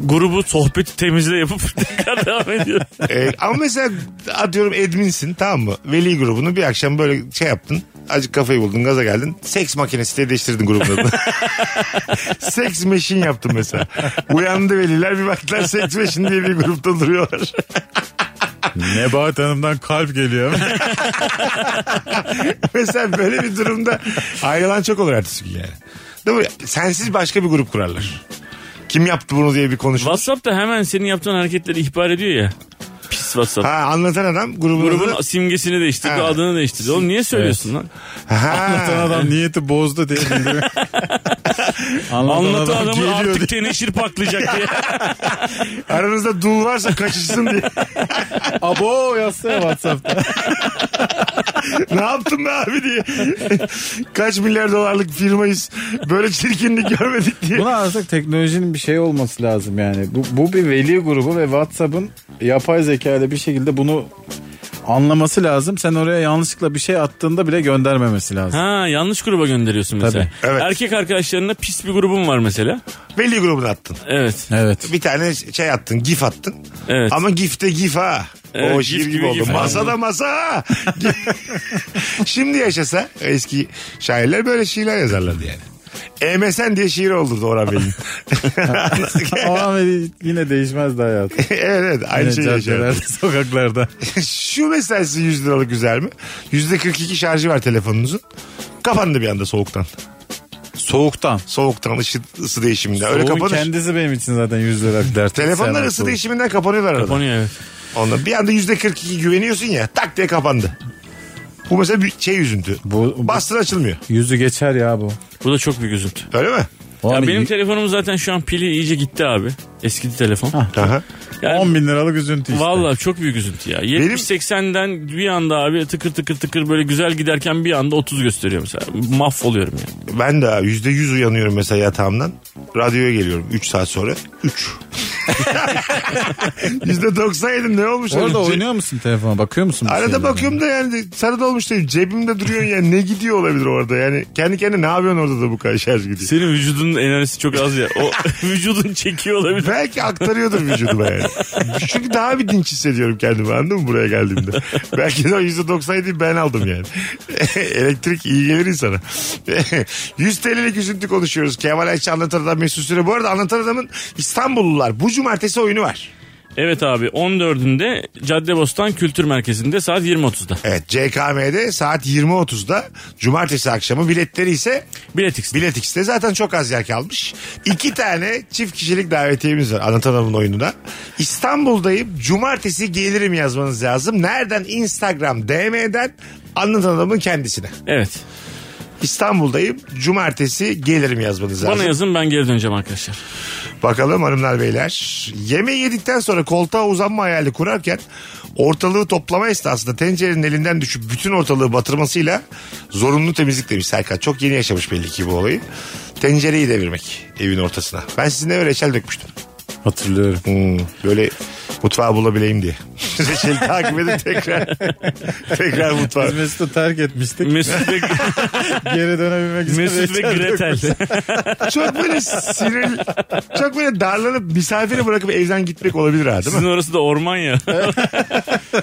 S5: grubu sohbeti temizle yapıp tekrar devam ediyorum.
S3: E, ama mesela atıyorum adminsin tamam mı? Veli grubunu bir akşam böyle şey yaptın. Acık kafayı buldun gaza geldin. Seks makinesi diye değiştirdin grubun adını. seks machine yaptın mesela. Uyandı veliler bir baktılar seks machine diye bir grupta duruyorlar.
S4: Nebahat Hanım'dan kalp geliyor.
S3: mesela böyle bir durumda ayrılan çok olur ertesi gün yani. Değil mi? Sensiz başka bir grup kurarlar. Kim yaptı bunu diye bir konuşma.
S5: WhatsApp'ta hemen senin yaptığın hareketleri ihbar ediyor ya. Pis WhatsApp.
S3: Ha anlatan adam grubun, adını-
S5: Grubun simgesini değiştirdi,
S3: Ha.
S5: adını değiştirdi. Oğlum niye söylüyorsun lan?
S3: Ha.
S4: Anlatan adam niyeti bozdu diye bildiriyor. Anlatan,
S5: Anlatan
S4: adam
S5: adamın
S4: geliyor
S5: artık
S4: diye.
S5: teneşir patlayacak diye.
S3: Aranızda dul varsa kaçışsın diye.
S4: Abo yazsana Whatsapp'ta.
S3: ne yaptın be abi diye. Kaç milyar dolarlık firmayız. Böyle çirkinlik görmedik diye.
S4: Buna artık teknolojinin bir şey olması lazım yani. Bu, bu bir veli grubu ve Whatsapp'ın yapay zeka ile bir şekilde bunu anlaması lazım. Sen oraya yanlışlıkla bir şey attığında bile göndermemesi lazım.
S5: Ha yanlış gruba gönderiyorsun mesela.
S3: Tabii. Evet.
S5: Erkek arkadaşlarına pis bir grubum var mesela.
S3: Veli grubuna attın.
S5: Evet.
S4: Evet.
S3: Bir tane şey attın. Gif attın.
S5: Evet.
S3: Ama gifte gif ha.
S5: Evet,
S3: o
S5: gif
S3: şiir gibi,
S5: gibi
S3: oldu.
S5: gif.
S3: Masada masa. Şimdi yaşasa eski şairler böyle şiirler yazarlardı yani. E EMSN diye şiir olurdu Orhan Bey'in.
S4: Ama yine değişmezdi hayat.
S3: evet evet aynı
S4: Yine
S3: şeyi yaşardı.
S4: caddelerde, sokaklarda.
S3: Şu mesela sizin 100 liralık güzel mi? %42 şarjı var telefonunuzun. Kapandı bir anda soğuktan.
S4: Soğuktan.
S3: Soğuktan ısı, ısı değişiminden. Öyle
S4: Soğuğun
S3: kapanır.
S4: kendisi benim için zaten 100 lira bir dert.
S3: Telefonlar
S4: Sevmem
S3: ısı
S4: soğuğu.
S3: değişiminden kapanıyorlar arada.
S5: Kapanıyor evet.
S3: Ondan bir anda %42 güveniyorsun ya tak diye kapandı. Bu mesela bir şey üzüntü.
S4: Bu-
S3: Bu,
S4: bu-
S3: Bastır açılmıyor.
S4: Yüzü geçer ya bu.
S5: Bu da çok büyük üzüntü.
S3: Öyle mi?
S4: O
S5: Ya
S4: hani
S5: benim telefonum zaten şu an pili iyice gitti abi. Eski telefon.
S3: Aha.
S5: Yani
S4: 10 bin liralık üzüntü Ah, işte.
S5: Vallahi çok büyük üzüntü ya. 70-80'den bir anda abi tıkır tıkır tıkır böyle güzel giderken bir anda 30 gösteriyor mesela. Mahvoluyorum ya.
S3: Ben de abi %100 uyanıyorum mesela yatağımdan. Radyoya geliyorum 3 saat sonra. 3. %97 ne olmuş?
S4: Orada
S3: oğlum? Ce-
S4: oynuyor musun telefona bakıyor musun? bir
S3: Arada
S4: şeylere?
S3: bakıyorum da yani sarı dolmuş değil. Cebimde duruyorsun yani ne gidiyor olabilir orada? Yani kendi kendine ne yapıyorsun orada da bu kadar şarj gidiyor?
S5: Senin vücudunun enerjisi çok az ya. O vücudun çekiyor olabilir.
S3: Belki aktarıyordur vücuduma yani. Çünkü daha bir dinç hissediyorum kendimi anladın mı buraya geldiğimde. Belki de o %97'yi ben aldım yani. Elektrik iyi gelir insana. 100 TL'lik üzüntü konuşuyoruz. Kemal Ayça Anlatan Adam Mesut Süre. Bu arada Anlatan Adam'ın İstanbullular bu cumartesi oyunu var.
S5: Evet abi 14'ünde Caddebostan Kültür Merkezi'nde saat 20.30'da.
S3: Evet CKM'de saat 20.30'da cumartesi akşamı biletleri ise
S5: Biletix.
S3: Bilet X'te zaten çok az yer kalmış. İki tane çift kişilik davetiyemiz var Anlatan Adam'ın oyununa. İstanbul'dayım. Cumartesi gelirim yazmanız lazım. Nereden? Instagram DM'den Anlatan Adam'ın kendisine.
S5: Evet.
S3: İstanbul'dayım. Cumartesi gelirim yazmanız lazım.
S5: Bana yazın ben geri döneceğim arkadaşlar.
S3: Bakalım hanımlar beyler. Yemeği yedikten sonra koltuğa uzanma hayali kurarken ortalığı toplama esnasında tencerenin elinden düşüp bütün ortalığı batırmasıyla zorunlu temizlik demiş Serkan. Çok yeni yaşamış belli ki bu olayı. Tencereyi devirmek evin ortasına. Ben sizin eve reçel dökmüştüm.
S4: Hatırlıyorum.
S3: Hmm, böyle mutfağı bulabileyim diye. reçeli takip edin tekrar. tekrar mutfağı.
S4: Biz Mesut'u terk etmiştik.
S5: Mesut ve,
S4: Geri dönebilmek için.
S5: Mesut
S4: reçel
S5: ve Gretel.
S3: Çok böyle sinir, çok böyle darlanıp misafiri bırakıp evden gitmek olabilir ha değil mi?
S5: Sizin orası da orman ya.
S4: E,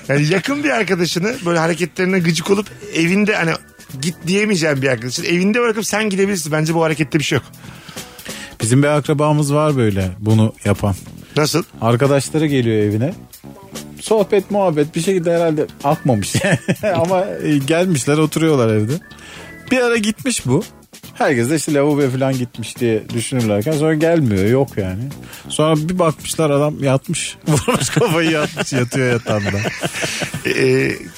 S3: Yani yakın bir arkadaşını böyle hareketlerine gıcık olup evinde hani git diyemeyeceğim bir arkadaşın evinde bırakıp sen gidebilirsin. Bence bu harekette bir şey yok.
S4: Bizim bir akrabamız var böyle bunu yapan.
S3: Nasıl?
S4: Arkadaşları geliyor evine. Sohbet muhabbet bir şekilde herhalde akmamış. Ama e, gelmişler oturuyorlar evde. Bir ara gitmiş bu. Herkes de işte lavaboya falan gitmiş diye düşünürlerken sonra gelmiyor yok yani. Sonra bir bakmışlar adam yatmış. Vurmuş kafayı yatmış yatıyor yatağında.
S3: Ee,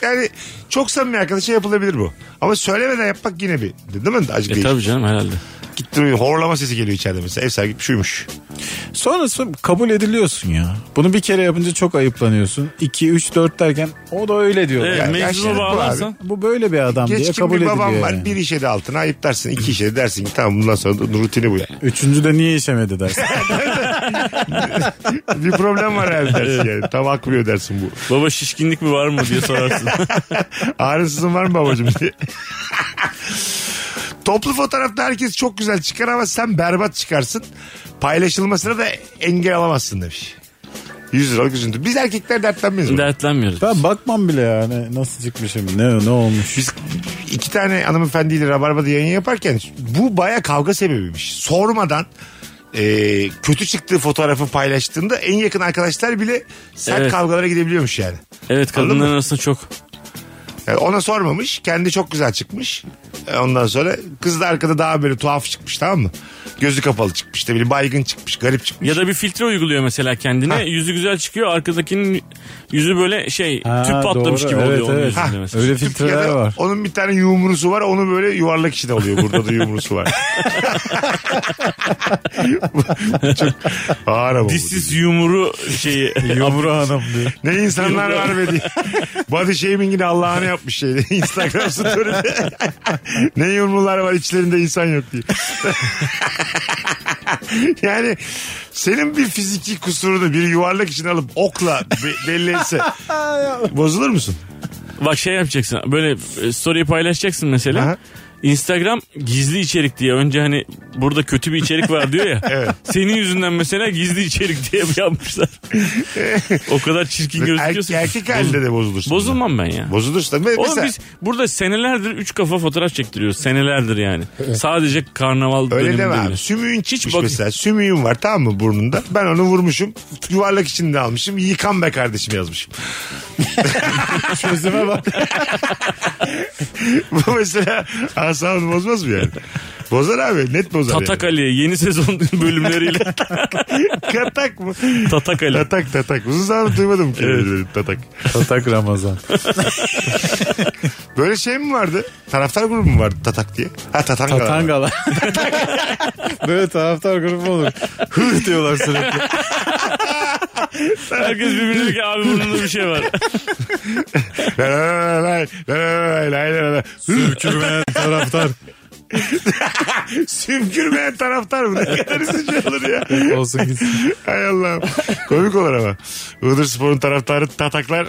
S3: yani çok samimi arkadaşa yapılabilir bu. Ama söylemeden yapmak yine bir değil mi? Acık
S5: e
S3: değil.
S5: tabii canım herhalde.
S3: Gitti, horlama sesi geliyor içeride mesela. Ev sahibi gitmiş uyumuş.
S4: Sonrası kabul ediliyorsun ya. Bunu bir kere yapınca çok ayıplanıyorsun. 2, 3, 4 derken o da öyle diyor.
S5: Evet,
S3: Ya, gerçekten
S5: meczuba
S3: bu abi.
S5: bağlarsan.
S4: Bu böyle bir adam diye
S3: Geçkin
S4: kabul
S3: bir
S4: ediliyor.
S3: babam var.
S4: yani.
S3: Bir işe de altına ayıp dersin. iki işe de dersin ki tamam bundan sonra da rutini bu yani.
S4: Üçüncü de niye işemedi dersin.
S3: bir problem var herhalde dersin yani. Tam akmıyor dersin bu.
S5: Baba şişkinlik mi var mı diye sorarsın.
S3: Ağrısızın var mı babacığım diye. Toplu fotoğrafta herkes çok güzel çıkar ama sen berbat çıkarsın. Paylaşılmasına da engel alamazsın demiş. 100 liralık üzüntü. Biz erkekler dertlenmeyiz. buna.
S5: Dertlenmiyoruz.
S4: ben bakmam bile yani nasıl çıkmışım ne ne olmuş.
S3: Biz iki tane hanımefendiyle Rabarba'da yayın yaparken bu baya kavga sebebiymiş. Sormadan e, kötü çıktığı fotoğrafı paylaştığında en yakın arkadaşlar bile sert
S5: Evet.
S3: kavgalara gidebiliyormuş yani.
S5: Evet
S3: Anladın
S5: kadınların
S3: mı?
S5: arasında çok.
S3: Yani ona sormamış. Kendi çok güzel çıkmış. E, Ondan sonra kız da arkada daha böyle tuhaf çıkmış tamam mı? Gözü kapalı çıkmış. da biri baygın çıkmış. Garip çıkmış.
S5: Ya da bir filtre uyguluyor mesela kendine. Yüzü güzel çıkıyor. Arkadakinin yüzü böyle şey
S4: Ha,
S5: tüp patlamış
S4: doğru.
S5: gibi
S4: Evet,
S5: oluyor onun
S4: evet.
S5: yüzünde
S4: Ha,
S5: mesela.
S4: Öyle
S3: Ya
S4: filtreler
S3: da
S4: var.
S3: onun bir tane yumrusu var. Onu böyle yuvarlak içinde oluyor. Burada da yumrusu var. çok ağır ama bu.
S5: This is yumru şeyi.
S4: Yumru Hanım diye.
S3: Ne insanlar var be diye. Body shaming'ini Allah'ını yapmış şeyde. Instagram story'de. ne yumrular var içlerinde insan yok diye. yani senin bir fiziki kusurunu bir yuvarlak içine alıp okla be- belli etse bozulur musun?
S5: Bak şey yapacaksın. Böyle e, story'i paylaşacaksın mesela.
S3: Aha.
S5: Instagram gizli içerik diye önce hani burada kötü bir içerik var diyor ya. Senin yüzünden mesela gizli içerik diye yapmışlar. o kadar çirkin
S3: Erkek,
S5: gözüküyorsun.
S3: erkek halinde de bozulursun.
S5: Bozulmam ben ya.
S3: Bozulursun. tabii.
S5: Oğlum
S3: Mesela-
S5: biz burada senelerdir üç kafa fotoğraf çektiriyoruz. Senelerdir yani. Sadece karnaval
S3: Öyle
S5: döneminde
S3: deme
S5: bile.
S3: abi. Sümüğün çıkmış
S5: bak-
S3: mesela. Sümüğün var tamam mı burnunda. Ben onu vurmuşum. Yuvarlak içinde almışım. Yıkan be kardeşim yazmışım.
S4: Çözüme bak.
S3: Bu mesela asabını bozmaz mı yani? Bozar abi. Net bozar
S5: Tatak Ali yeni sezon bölümleriyle
S3: yani. Katak mı?
S5: Tatak Ali.
S3: Tatak tatak. Uzun zamandır duymadım ki. böyle Tatak.
S4: Tatak Ramazan.
S3: Böyle şey mi vardı? Taraftar grubu mu vardı tatak diye? Ha tatangalar. Tatanga.
S4: Tatangala. Böyle taraftar grubu olur. Hıh diyorlar sürekli.
S5: Herkes birbirine diyor ki abi burnunda bir şey var.
S4: Sürkürmeyen taraftar.
S3: Sümkürmeyen taraftar mı? Ne kadar üzücü olur ya.
S4: Olsun gitsin.
S3: Hay Allah'ım. Komik olur ama. Iğdır Spor'un taraftarı tataklar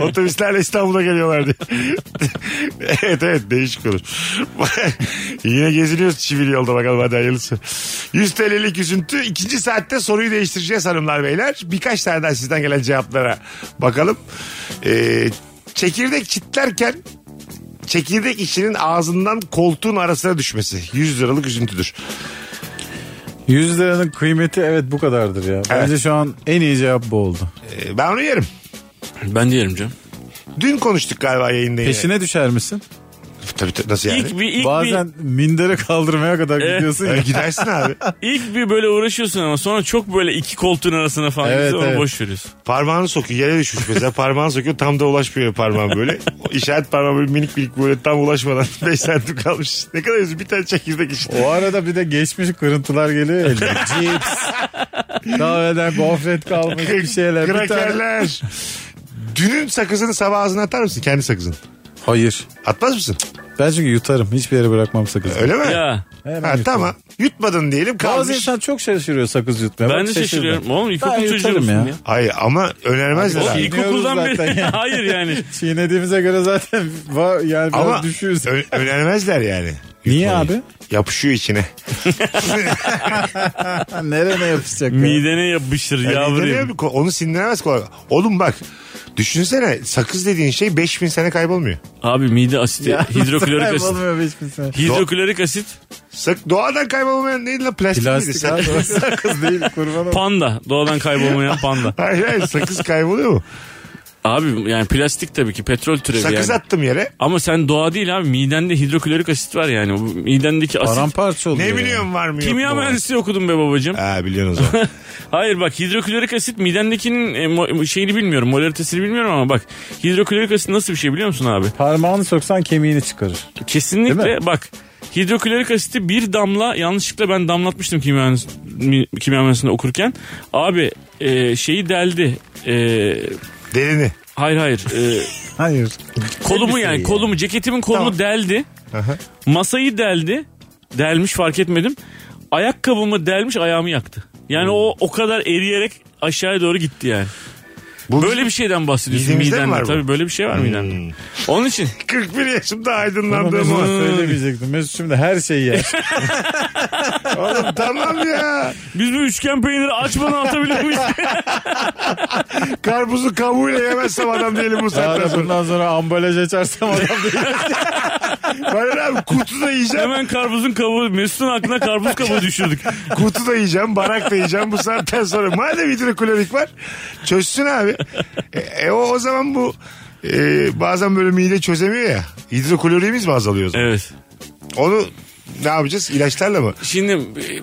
S3: otobüslerle İstanbul'a geliyorlar diye. evet evet değişik olur. Yine geziliyoruz çivili yolda bakalım hadi hayırlısı. 100 TL'lik üzüntü. ikinci saatte soruyu değiştireceğiz hanımlar beyler. Birkaç tane daha sizden gelen cevaplara bakalım. Ee, çekirdek çitlerken çekirdek işinin ağzından koltuğun arasına düşmesi. 100 liralık üzüntüdür.
S4: 100 liranın kıymeti evet bu kadardır ya. Bence şu an en iyi cevap bu oldu.
S3: Ee, ben onu yerim.
S5: Ben diyelim canım.
S3: Dün konuştuk galiba yayında. yine.
S4: Peşine düşer misin?
S3: Tabii tabii nasıl yani?
S5: İlk bir ilk
S4: Bazen mindere kaldırmaya kadar
S5: Evet.
S4: gidiyorsun
S3: Ee,
S4: ya.
S3: gidersin abi.
S5: bir ilk bir böyle uğraşıyorsun ama sonra çok böyle iki koltuğun arasına falan
S4: Evet,
S5: evet,
S4: evet.
S5: boş veriyorsun.
S3: Parmağını sokuyor yere düşmüş mesela parmağını sokuyor tam da ulaşmıyor parmağın böyle. O işaret parmağı böyle minik minik böyle tam ulaşmadan 5 santim kalmış. Ne kadar üzücü bir tane çekirdek işte.
S4: O arada bir de geçmiş kırıntılar geliyor ya. Cips. Kahveden gofret kalmış bir şeyler. Bir tane...
S3: Krakerler. Dünün sakızını sabah ağzına atar mısın? Kendi sakızını.
S4: Hayır.
S3: Atmaz mısın?
S4: Ben çünkü yutarım. Hiçbir yere bırakmam sakızı.
S3: Öyle mi?
S5: Ya
S4: Hemen
S3: Ha,
S4: yutarım.
S3: tamam. Yutmadın diyelim
S4: Bazı
S3: kalmış.
S4: insan çok şaşırıyor sakız yutmaya.
S5: ben
S4: Bak
S5: de
S4: şaşırdım.
S5: şaşırıyorum. Oğlum
S4: Ben
S5: ilkokul çocuğu
S4: yutarım
S5: musun
S4: ya.
S5: ya?
S3: Hayır ama önermezler
S5: Oğlum
S3: abi.
S5: ilkokuldan
S4: Dinliyoruz
S5: beri.
S4: zaten ya.
S5: Hayır yani.
S4: Çiğnediğimize göre zaten var yani biraz
S3: Ama
S4: düşüyoruz.
S3: ö- önermezler yani.
S4: Niye
S3: Yutmayı.
S4: abi?
S3: Yapışıyor içine.
S4: Ha, nerene yapışacak? ya?
S5: Midene yapışır
S3: Yani
S5: yavrum.
S3: inanıyor musun? Onu sindiremez kolay. Oğlum bak düşünsene sakız dediğin şey 5000 sene kaybolmuyor.
S5: Abi mide asidi. Hidroklorik asit.
S4: Olmuyor be hiçbir şey. sene.
S5: Hidroklorik asit.
S3: Sak doğadan kaybolmayan neydi lan plastik, miydi?
S4: Plastik
S3: Sakız-
S4: abi o sakız değil kurban olayım.
S5: Panda. Doğadan kaybolmayan panda.
S3: hayır hayır sakız kayboluyor mu?
S5: Abi yani plastik tabii ki petrol türevi
S3: Sakız
S5: yani.
S3: attım yere.
S5: Ama sen doğa değil abi. Midende hidroklorik asit var yani. Bu midendeki asit.
S4: Paramparça oluyor.
S3: Ne
S4: yani.
S3: biliyorum var mı
S5: Kimya
S3: yok mu?
S5: mühendisliği okudum be babacığım.
S3: Ha biliyorsun o zaman.
S5: Hayır bak hidroklorik asit midendekinin e, mo- şeyini bilmiyorum. Molaritesini bilmiyorum ama bak hidroklorik asit nasıl bir şey biliyor musun abi?
S4: Parmağını soksan kemiğini çıkarır. Değil
S5: Kesinlikle bak hidroklorik asiti bir damla yanlışlıkla ben damlatmıştım kimya, mühendis- mi- kimya mühendisliğinde okurken. Abi e, şeyi deldi. E,
S3: Delini.
S5: hayır hayır. E,
S4: Hayır.
S5: kolumu yani kolumu ceketimin kolunu deldi. Masayı deldi. Delmiş fark etmedim. Ayakkabımı delmiş ayağımı yaktı. Yani
S3: Hmm.
S5: o o kadar eriyerek aşağıya doğru gitti yani.
S3: Bu
S5: Böyle bir şeyden bahsediyorsun
S3: Midemizde mi
S5: midende.
S3: var bu? Hmm.
S5: Tabii böyle bir şey var midende. Onun için
S3: 41 yaşımda
S4: Bunu
S3: aydınlandım.
S4: Mesut'a
S3: ha.
S4: söylemeyecektim. Mesut şimdi her şeyi yer.
S3: Oğlum tamam ya.
S5: biz bu üçgen peyniri açmadan atabilir miyiz?
S3: Karpuzu kabuğuyla yemezsem adam değilim bu saatten
S4: Yarın
S3: sonra.
S4: bundan sonra ambalaj açarsam adam şey
S3: Hayır abi kutu da yiyeceğim.
S5: Hemen karpuzun kabuğu Mesut'un aklına karpuz kabuğu düşürdük.
S3: Kutu da yiyeceğim. Barak da yiyeceğim bu saatten sonra. Madem hidroklorik var çözsün abi. E, e, o, o zaman bu e, bazen böyle mide çözemiyor ya. Hidroklorimiz mi azalıyor o zaman?
S5: Evet.
S3: Onu ne yapacağız? İlaçlarla mı?
S5: Şimdi e,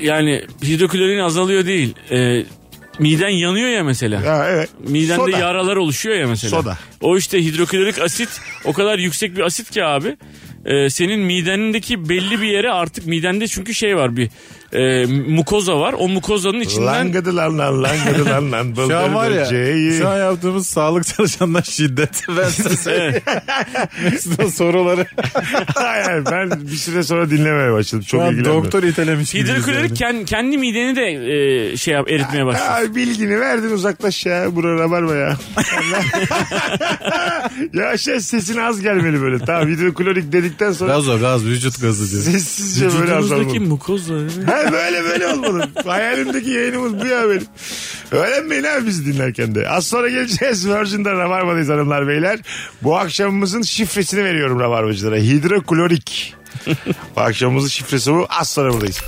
S5: yani hidroklorin azalıyor değil. E, miden yanıyor ya mesela.
S3: Ha, evet.
S5: Midende
S3: Soda.
S5: yaralar oluşuyor ya mesela.
S3: Soda.
S5: O işte hidroklorik asit o kadar yüksek bir asit ki abi. e, senin midenindeki belli bir yere artık midende çünkü şey var bir e, mukoza var. O mukozanın içinden
S3: Langıdı lan lan langıdı lan lan.
S4: Şu an var ya
S3: bıldırcayı.
S4: şu an yaptığımız sağlık çalışanlar şiddet. Ben size söyleyeyim. Mesut'un soruları.
S3: Hayır, hayır, ben bir süre sonra dinlemeye başladım. Çok
S4: Şu an
S3: ilgilendim.
S4: doktor itelemiş gibiyiz
S5: hidroklorik
S4: yani.
S5: kend- kendi mideni de e, şey yap, eritmeye başlıyor.
S3: Ay bilgini verdin uzaklaş ya. Bura rabarba ya. ya şey sesin az gelmeli böyle. Tamam hidroklorik dedik yedikten sonra
S4: Gaz o gaz vücut gazı diyor.
S3: sessizce böyle
S5: Vücudumuzdaki
S3: azalmalı.
S5: mukozları.
S3: Ha böyle böyle olmalı. Hayalimdeki yayınımız bu ya benim. Öğrenmeyin abi bizi dinlerken de. Az sonra geleceğiz. Virgin'de Rabarba'dayız hanımlar beyler. Bu akşamımızın şifresini veriyorum Rabarbacılara. Hidroklorik. bu akşamımızın şifresi bu. Az sonra buradayız.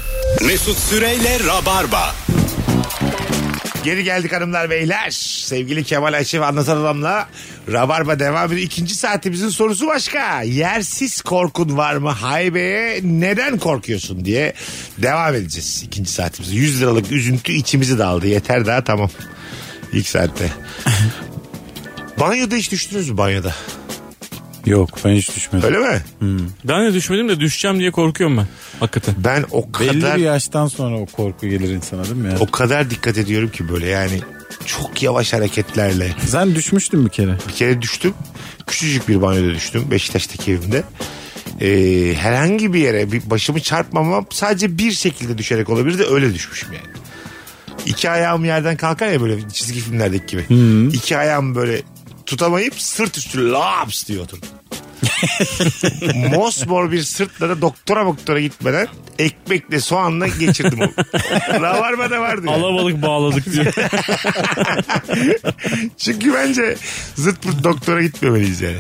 S2: Mesut Süreyle Rabarba.
S3: Geri geldik hanımlar beyler. Sevgili Kemal Ayşe ve Anlatan Adam'la Rabarba devam ediyor. İkinci saatimizin sorusu başka. Yersiz korkun var mı? Haybe'ye neden korkuyorsun diye devam edeceğiz ikinci saatimizde. 100 liralık üzüntü içimizi daldı. Yeter daha tamam. İlk saatte. Banyoda hiç düştünüz mü banyoda?
S4: Yok ben hiç düşmedim.
S3: Öyle mi?
S5: Daha ne düşmedim de düşeceğim diye korkuyorum ben. Hakikaten.
S3: Ben o
S4: Belli
S3: kadar
S4: bir yaştan sonra o korku gelir insana değil mi ya?
S3: o kadar dikkat ediyorum ki böyle yani çok yavaş hareketlerle
S4: Sen düşmüştün bir kere.
S3: Bir kere düştüm. Küçücük bir banyoda düştüm. Beşiktaş'taki evimde. Ee, herhangi bir yere bir başımı çarpmamam sadece bir şekilde düşerek olabilir de öyle düşmüşüm yani. İki ayağım yerden kalkar ya böyle çizgi filmlerdeki gibi. İki ayağım böyle tutamayıp sırt üstü laps diye oturdum. Mosmor bir sırtla da doktora doktora gitmeden ekmekle soğanla geçirdim o. Rabarba da vardı. yani.
S5: Alabalık bağladık diye.
S3: Çünkü bence zırt pırt doktora gitmemeliyiz yani.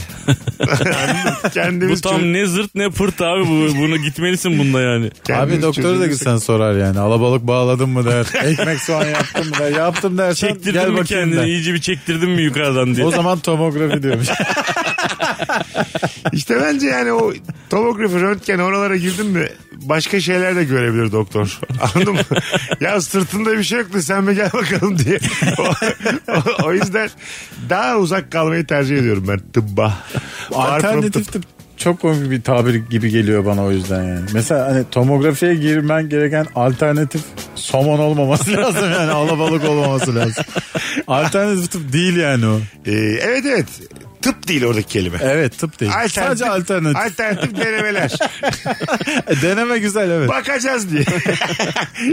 S3: Anladın mı?
S5: bu
S3: kendimiz
S5: tam
S3: çöz-
S5: ne zırt ne pırt abi bu. Bunu gitmelisin bunda yani.
S3: kendimiz
S4: Abi doktora da
S3: çözülürsek-
S4: gitsen sorar yani. Alabalık bağladın mı der. Ekmek soğan yaptın mı der. Yaptım dersen
S5: Çektirdin
S4: gel
S5: mi
S4: bakayım
S5: kendini
S4: der.
S5: iyice bir çektirdin mi yukarıdan diye.
S4: O zaman tomografi diyormuş.
S3: İşte bence yani o tomografi röntgen oralara girdin mi başka şeyler de görebilir doktor. Anladın mı? ya sırtında bir şey yoktu sen mi gel bakalım diye. O, o- o yüzden daha uzak kalmayı tercih ediyorum ben tıbba. Arthrop
S4: Alternatif
S3: tıp.
S4: tıp çok komik bir tabir gibi geliyor bana o yüzden yani. Mesela hani tomografiye girmen gereken alternatif somon olmaması lazım yani alabalık olmaması lazım. Alternatif tıp değil yani o.
S3: Ee, evet evet tıp değil oradaki kelime.
S4: Evet tıp değil.
S3: Alternatif,
S4: Sadece alternatif.
S3: Alternatif denemeler.
S4: E, Deneme güzel evet.
S3: Bakacağız diye.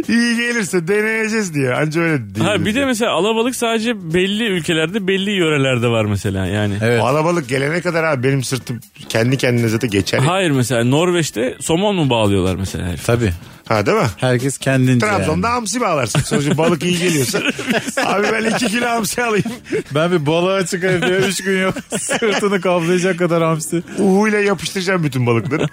S3: İyi gelirse deneyeceğiz diye. Anca öyle değil.
S5: Ha bir de mesela alabalık sadece belli ülkelerde belli yörelerde var mesela yani.
S4: Evet.
S3: Alabalık gelene kadar abi benim sırtım kendi kendine zaten geçer. Ha,
S5: Hayır mesela Norveç'te somon mu bağlıyorlar mesela herif?
S4: Tabii.
S3: değil mi?
S4: Herkes kendince yani.
S3: Trabzon'da hamsi bağlarsın. Sonuçta balık iyi geliyorsa. abi ben iki kilo hamsi alayım.
S4: Ben bir balığa çıkarım diye 3 gün yok. Sırtını kaplayacak kadar hamsi.
S3: Uhuyla yapıştıracağım bütün balıkları.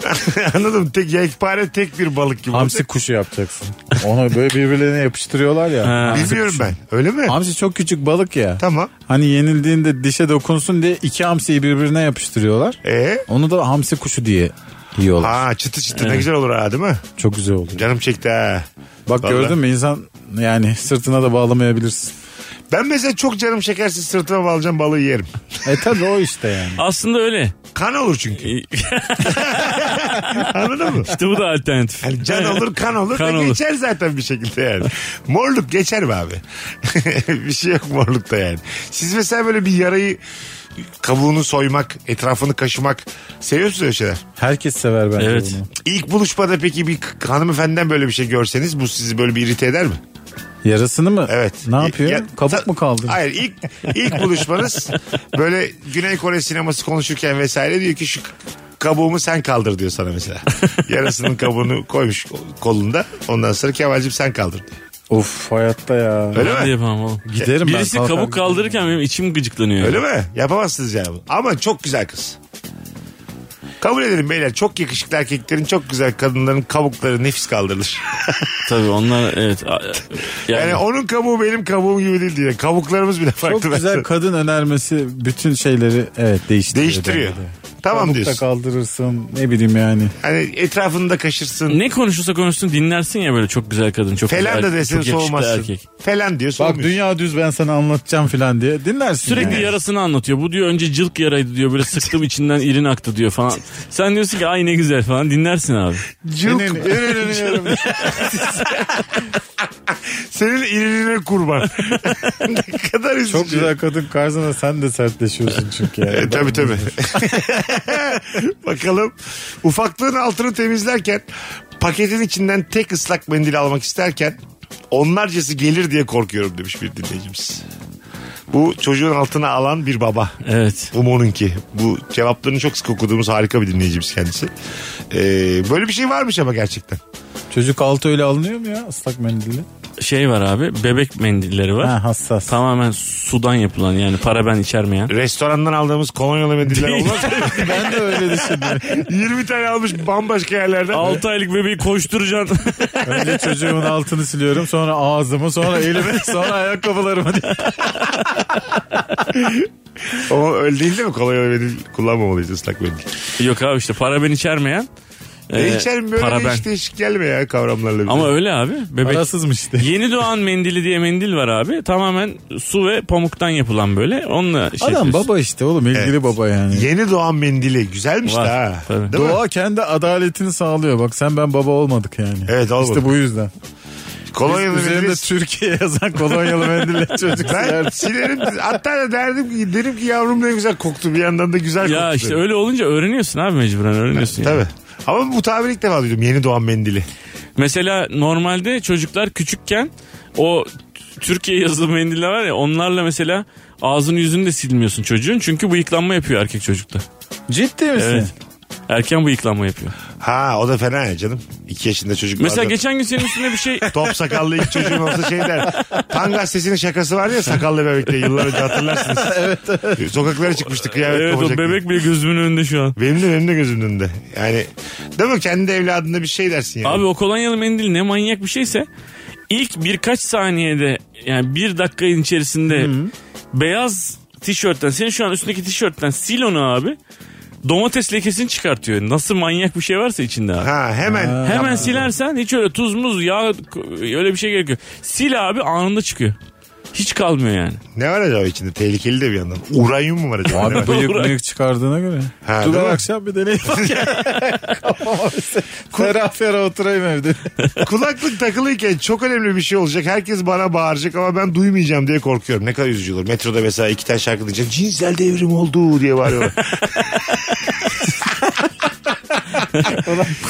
S3: Anladın mı? Tek yekpare tek bir balık gibi.
S4: Hamsi kuşu yapacaksın. Ona böyle birbirlerine yapıştırıyorlar ya.
S5: Ha.
S3: Bilmiyorum ben. Öyle mi?
S4: Hamsi çok küçük balık ya.
S3: Tamam.
S4: Hani yenildiğinde dişe dokunsun diye iki hamsiyi birbirine yapıştırıyorlar.
S3: Ee?
S4: Onu da hamsi kuşu diye yiyorlar.
S3: Ha çıtı çıtı ne güzel olur ha değil mi?
S4: Çok güzel oluyor.
S3: Canım çekti ha.
S4: Bak
S3: Vallahi.
S4: gördün mü insan yani sırtına da bağlamayabilirsin.
S3: Ben mesela çok canım çekerse sırtıma bağlayacağım balığı yerim.
S4: E tabi o işte yani.
S5: Aslında öyle.
S3: Kan olur çünkü. Anladın mı?
S5: İşte bu da alternatif.
S3: Yani can olur kan olur
S5: Kan
S3: da
S5: olur.
S3: geçer zaten bir şekilde yani. Morluk geçer mi abi? bir şey yok morlukta yani. Siz mesela böyle bir yarayı kabuğunu soymak, etrafını kaşımak seviyorsunuz öyle şeyler.
S4: Herkes sever bence
S5: Evet.
S4: bunu.
S3: İlk buluşmada peki bir k- hanımefendiden böyle bir şey görseniz bu sizi böyle bir irite eder mi?
S4: Yarasını mı?
S3: Evet.
S4: Ne yapıyor?
S3: Ya-
S4: Kabuk mu kaldı?
S3: Hayır ilk ilk buluşmanız böyle Güney Kore sineması konuşurken vesaire diyor ki şu kabuğumu sen kaldır diyor sana mesela. Yarasının kabuğunu koymuş kolunda. Ondan sonra Kemal'cim sen kaldır diyor.
S4: Of hayatta ya.
S3: Öyle
S5: Ben
S3: mi?
S5: de yapamam oğlum.
S4: Giderim ben.
S5: Birisi
S4: kalkar
S5: kabuk
S4: giderim.
S5: kaldırırken benim içim gıcıklanıyor.
S3: Öyle mi? Yapamazsınız yani. bunu. Ama çok güzel kız. Kabul edelim beyler. Çok yakışıklı erkeklerin çok güzel kadınların kabukları nefis kaldırılır.
S5: Tabii onlar evet. a- Yani,
S3: Yani, onun kabuğu benim kabuğum gibi değil diye. Kabuklarımız bile farklı.
S4: Çok güzel
S3: bence.
S4: kadın önermesi bütün şeyleri evet değiştiriyor.
S3: Değiştiriyor.
S4: bence de.
S3: Tamam
S4: Kabuk da
S3: diyorsun.
S4: kaldırırsın ne bileyim yani.
S3: Hani etrafını da kaşırsın.
S5: ne konuşursa konuşsun dinlersin ya böyle çok güzel kadın çok
S3: Falan
S5: güzel,
S3: da desin
S5: çok yakışıklı
S3: soğumazsın.
S5: erkek.
S3: Falan diyor
S4: Bak
S3: soğumuyorsun.
S4: dünya düz ben sana anlatacağım falan diye dinlersin.
S5: Sürekli
S4: yani.
S5: yarasını anlatıyor. Bu diyor önce cılk yaraydı diyor. Böyle sıktım içinden irin aktı diyor falan. Sen diyorsun ki ay ne güzel falan dinlersin abi.
S3: Cılk.
S4: İnin- inin- inin- inin- inin.
S3: Senin irine kurban. ne kadar üzücü.
S4: Çok güzel kadın karşısında sen de sertleşiyorsun çünkü. Yani.
S3: E, tabii tabii. Bakalım ufaklığın altını temizlerken paketin içinden tek ıslak mendil almak isterken onlarcası gelir diye korkuyorum demiş bir dinleyicimiz. Bu çocuğun altına alan bir baba.
S5: Evet.
S3: Umo'nunki. Bu cevaplarını çok sık okuduğumuz harika bir dinleyicimiz kendisi. Ee, böyle bir şey varmış ama gerçekten.
S4: Çocuk altı öyle alınıyor mu ya ıslak mendille?
S5: Şey var abi bebek mendilleri var.
S4: Ha hassas.
S5: Tamamen sudan yapılan yani paraben içermeyen.
S3: Restorandan aldığımız kolonyalı mendiller olmaz mı?
S4: Ben de öyle düşündüm.
S3: 20 tane almış bambaşka yerlerden.
S5: 6 aylık bebeği koşturacaksın.
S4: Önce çocuğumun altını siliyorum sonra ağzımı sonra elimi sonra ayakkabılarımı diye.
S3: Ama öyle değil değil mi? Kolonyalı mendil kullanmamalıyız ıslak mendil.
S5: Yok abi işte paraben içermeyen.
S3: Ne
S5: e,
S3: içerim böyle
S5: paraben.
S3: hiç değişik gelme ya kavramlarla. bize.
S5: Ama öyle abi. Bebek
S4: Parasızmış işte.
S5: Yeni doğan mendili diye mendil var abi. Tamamen su ve pamuktan yapılan böyle. Onunla şey
S4: Adam
S5: yapıyorsun.
S4: baba işte oğlum ilgili
S3: Evet.
S4: baba yani.
S3: Yeni doğan mendili güzelmiş
S5: Var,
S3: de ha.
S5: tabii.
S3: Değil mi?
S4: Doğa kendi adaletini sağlıyor. Bak sen ben baba olmadık yani.
S3: Evet, olmadık.
S4: İşte bu yüzden.
S3: Kolonyalı
S4: Biz üzerinde
S3: mendil.
S4: Türkiye yazan kolonyalı mendille çocuk
S3: Ben
S4: silerdi.
S3: silerim. Hatta da derdim ki, derim ki yavrum ne güzel koktu. Bir yandan da güzel koktu.
S5: Ya işte
S3: derim.
S5: öyle olunca öğreniyorsun abi mecburen öğreniyorsun. yani.
S3: Tabii. Ama bu tabiri ilk defa duydum. Yeni doğan mendili.
S5: Mesela normalde çocuklar küçükken o Türkiye yazılı mendiller var ya onlarla mesela ağzını yüzünü de silmiyorsun çocuğun. Çünkü bıyıklanma yapıyor erkek çocukta.
S4: Ciddi misin?
S5: Evet. Erken bıyıklanma yapıyor.
S3: Ha o da fena ya canım. 2 yaşında çocuk
S5: Mesela
S3: vardı.
S5: geçen gün senin üstüne bir şey
S3: Top sakallı ilk çocuğum olsa şey der. Tan gazetesinin şakası var ya sakallı bebekle yıllar önce hatırlarsınız. evet evet. Sokaklara çıkmıştık kıyafet
S5: Evet o
S3: kopacak diye.
S5: bebek bile gözümün önünde şu an.
S3: Benim de benim de gözümün önünde. Yani değil mi kendi evladında bir şey dersin yani.
S5: Abi o kolonyalı mendil ne manyak bir şeyse ilk birkaç saniyede yani bir dakikanın içerisinde beyaz tişörtten senin şu an üstündeki tişörtten sil onu abi domates lekesini çıkartıyor. Nasıl manyak bir şey varsa içinde abi.
S3: Ha hemen.
S5: Hemen silersen hiç öyle tuz muz yağ öyle bir şey gerekiyor. Sil abi anında çıkıyor. Hiç kalmıyor yani.
S3: Ne var acaba içinde? Tehlikeli de bir yandan. Uranyum mu var acaba? Ne var?
S4: Abi bıyık bıyık çıkardığına göre.
S3: Ha,
S4: Dur
S3: değil mi?
S4: akşam bir deneyim. Kafama bir se- ferah ferah oturayım evde.
S3: Kulaklık takılıyken çok önemli bir şey olacak. Herkes bana bağıracak ama ben duymayacağım diye korkuyorum. Ne kadar üzücü olur. Metroda mesela iki tane şarkı diyeceğim. Cinsel devrim oldu diye bağırıyorlar.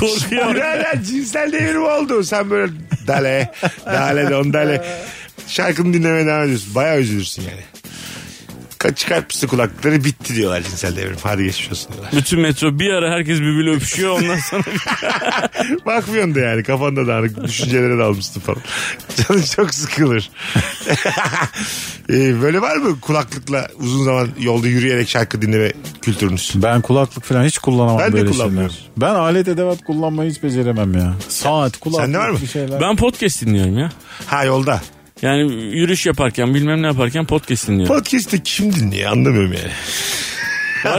S5: Korkuyor.
S3: Birader cinsel devrim oldu. Sen böyle dale, dale don dale. Şarkını dinlemeye devam ediyorsun. Bayağı üzülürsün yani. Ka- Çıkartmışsın kulaklıkları bitti diyorlar cinsel devrim. Hadi geçmiş olsun diyorlar.
S5: Bütün metro bir ara herkes birbiriyle öpüşüyor ondan sonra
S3: Bakmıyorsun da yani kafanda dağınık düşüncelere dalmışsın falan. Canın çok sıkılır. Ee, böyle var mı kulaklıkla uzun zaman yolda yürüyerek şarkı dinleme kültürünüz?
S4: Ben kulaklık falan hiç kullanamam
S3: Ben de
S4: böyle
S3: kullanmıyorum.
S4: şeyler. Ben alet edevat kullanmayı hiç beceremem ya. Saat, kulaklık
S3: sende var mı?
S4: bir şeyler.
S5: ben podcast dinliyorum ya.
S3: Ha yolda.
S5: Yani yürüyüş yaparken bilmem ne yaparken podcast dinliyorum.
S3: Podcast'te kim dinliyor anlamıyorum yani.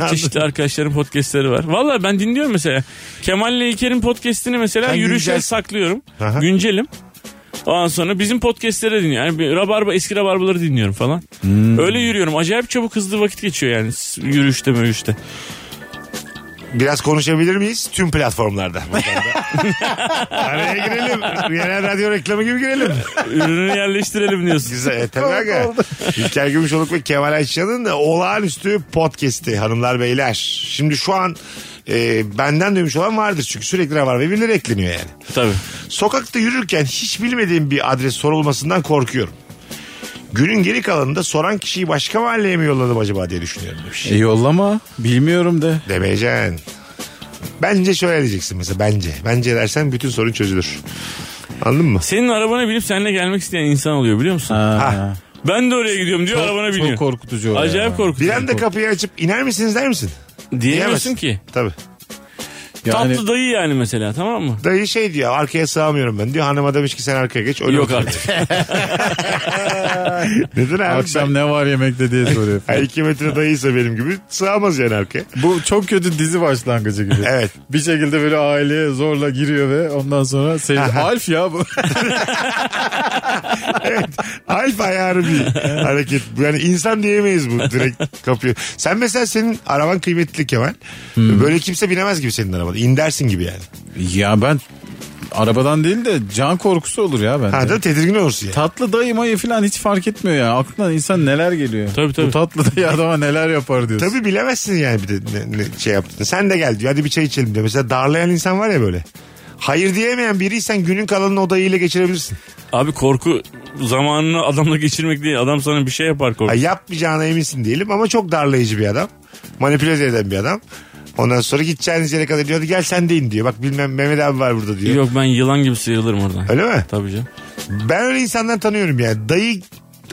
S5: var çeşitli arkadaşların podcastleri var. Valla ben dinliyorum mesela. Kemal ile İlker'in podcastini mesela
S3: Sen
S5: yürüyüşe
S3: güncelsin.
S5: saklıyorum.
S3: Aha.
S5: Güncelim. Ondan sonra bizim podcastlere dinliyorum. Yani bir rabarba, eski rabarbaları dinliyorum falan.
S3: Hmm.
S5: Öyle yürüyorum. Acayip çabuk hızlı vakit geçiyor yani s- yürüyüşte mürüyüşte.
S3: Biraz konuşabilir miyiz? Tüm platformlarda. Buradan da. Araya girelim. Yerel radyo reklamı gibi girelim.
S5: Ürünü yerleştirelim diyorsun.
S3: Güzel. E, tabii aga. İlker Gümüşoluk ve Kemal Ayça'nın da olağanüstü podcast'i hanımlar beyler. Şimdi şu an e, benden duymuş olan vardır çünkü sürekli var ve birileri ekleniyor yani.
S5: Tabii.
S3: Sokakta yürürken hiç bilmediğim bir adres sorulmasından korkuyorum. Günün geri kalanında soran kişiyi başka mahalleye mi yolladım acaba diye düşünüyorum demiş.
S4: E yollama. Bilmiyorum de.
S3: Demeyeceksin. Bence şöyle diyeceksin mesela bence. Bence dersen bütün sorun çözülür. Anladın mı?
S5: Senin arabana binip seninle gelmek isteyen insan oluyor biliyor musun?
S3: Ha.
S5: Ben de oraya gidiyorum diyor arabana biniyor.
S4: Çok korkutucu o
S5: Acayip
S4: ya.
S5: korkutucu.
S3: Bir anda kapıyı açıp iner misiniz der misin?
S5: Diyemiyorsun
S3: Diyemezsin.
S5: ki.
S3: Tabii.
S4: Yani
S5: Tatlı dayı yani mesela tamam mı?
S3: Dayı şey diyor arkaya sığamıyorum ben diyor. Hanıma demiş ki sen arkaya geç. Öyle
S5: Yok
S3: otur.
S5: artık.
S3: Neden abi?
S4: akşam ne var yemekte diye soruyor.
S3: Ben, Ha, iki metre dayıysa benim gibi sığamaz yani arkaya.
S4: Bu çok kötü dizi başlangıcı gibi.
S3: Evet.
S4: Bir şekilde böyle aileye zorla giriyor ve ondan sonra sevdi. Alf ya bu.
S3: Alf ayarı bir hareket. Bu Yani insan diyemeyiz bu direkt kapıyor. Sen mesela senin araban kıymetli Kemal.
S5: Hmm.
S3: Böyle kimse binemez gibi senin arabada. İndersin gibi yani.
S4: ya ben arabadan değil de can korkusu olur ya bende.
S3: Ha da tedirgin olursun yani.
S4: Tatlı dayı mayı falan hiç fark etmiyor ya. Aklına insan neler geliyor.
S5: Tabii, tabii.
S4: Bu tatlı dayı adama neler yapar diyorsun.
S3: Tabii bilemezsin yani bir de ne, ne şey yaptın. Sen de gel diyor hadi bir çay içelim diyor. Mesela darlayan insan var ya böyle. Hayır diyemeyen biriysen günün kalanını o dayıyla geçirebilirsin.
S5: Abi korku zamanını adamla geçirmek değil. Adam sana bir şey yapar korkusu.
S3: Ha, yapmayacağına eminsin diyelim ama çok darlayıcı bir adam. Manipüle eden bir adam. Ondan sonra gideceğiniz yere kadar diyor "Hadi gel sen de in diyor. Bak bilmem Mehmet abi var burada diyor.
S5: Yok ben yılan gibi sıyrılırım oradan.
S3: Öyle mi?
S5: Tabii canım.
S3: Ben öyle insanlar tanıyorum yani. Dayı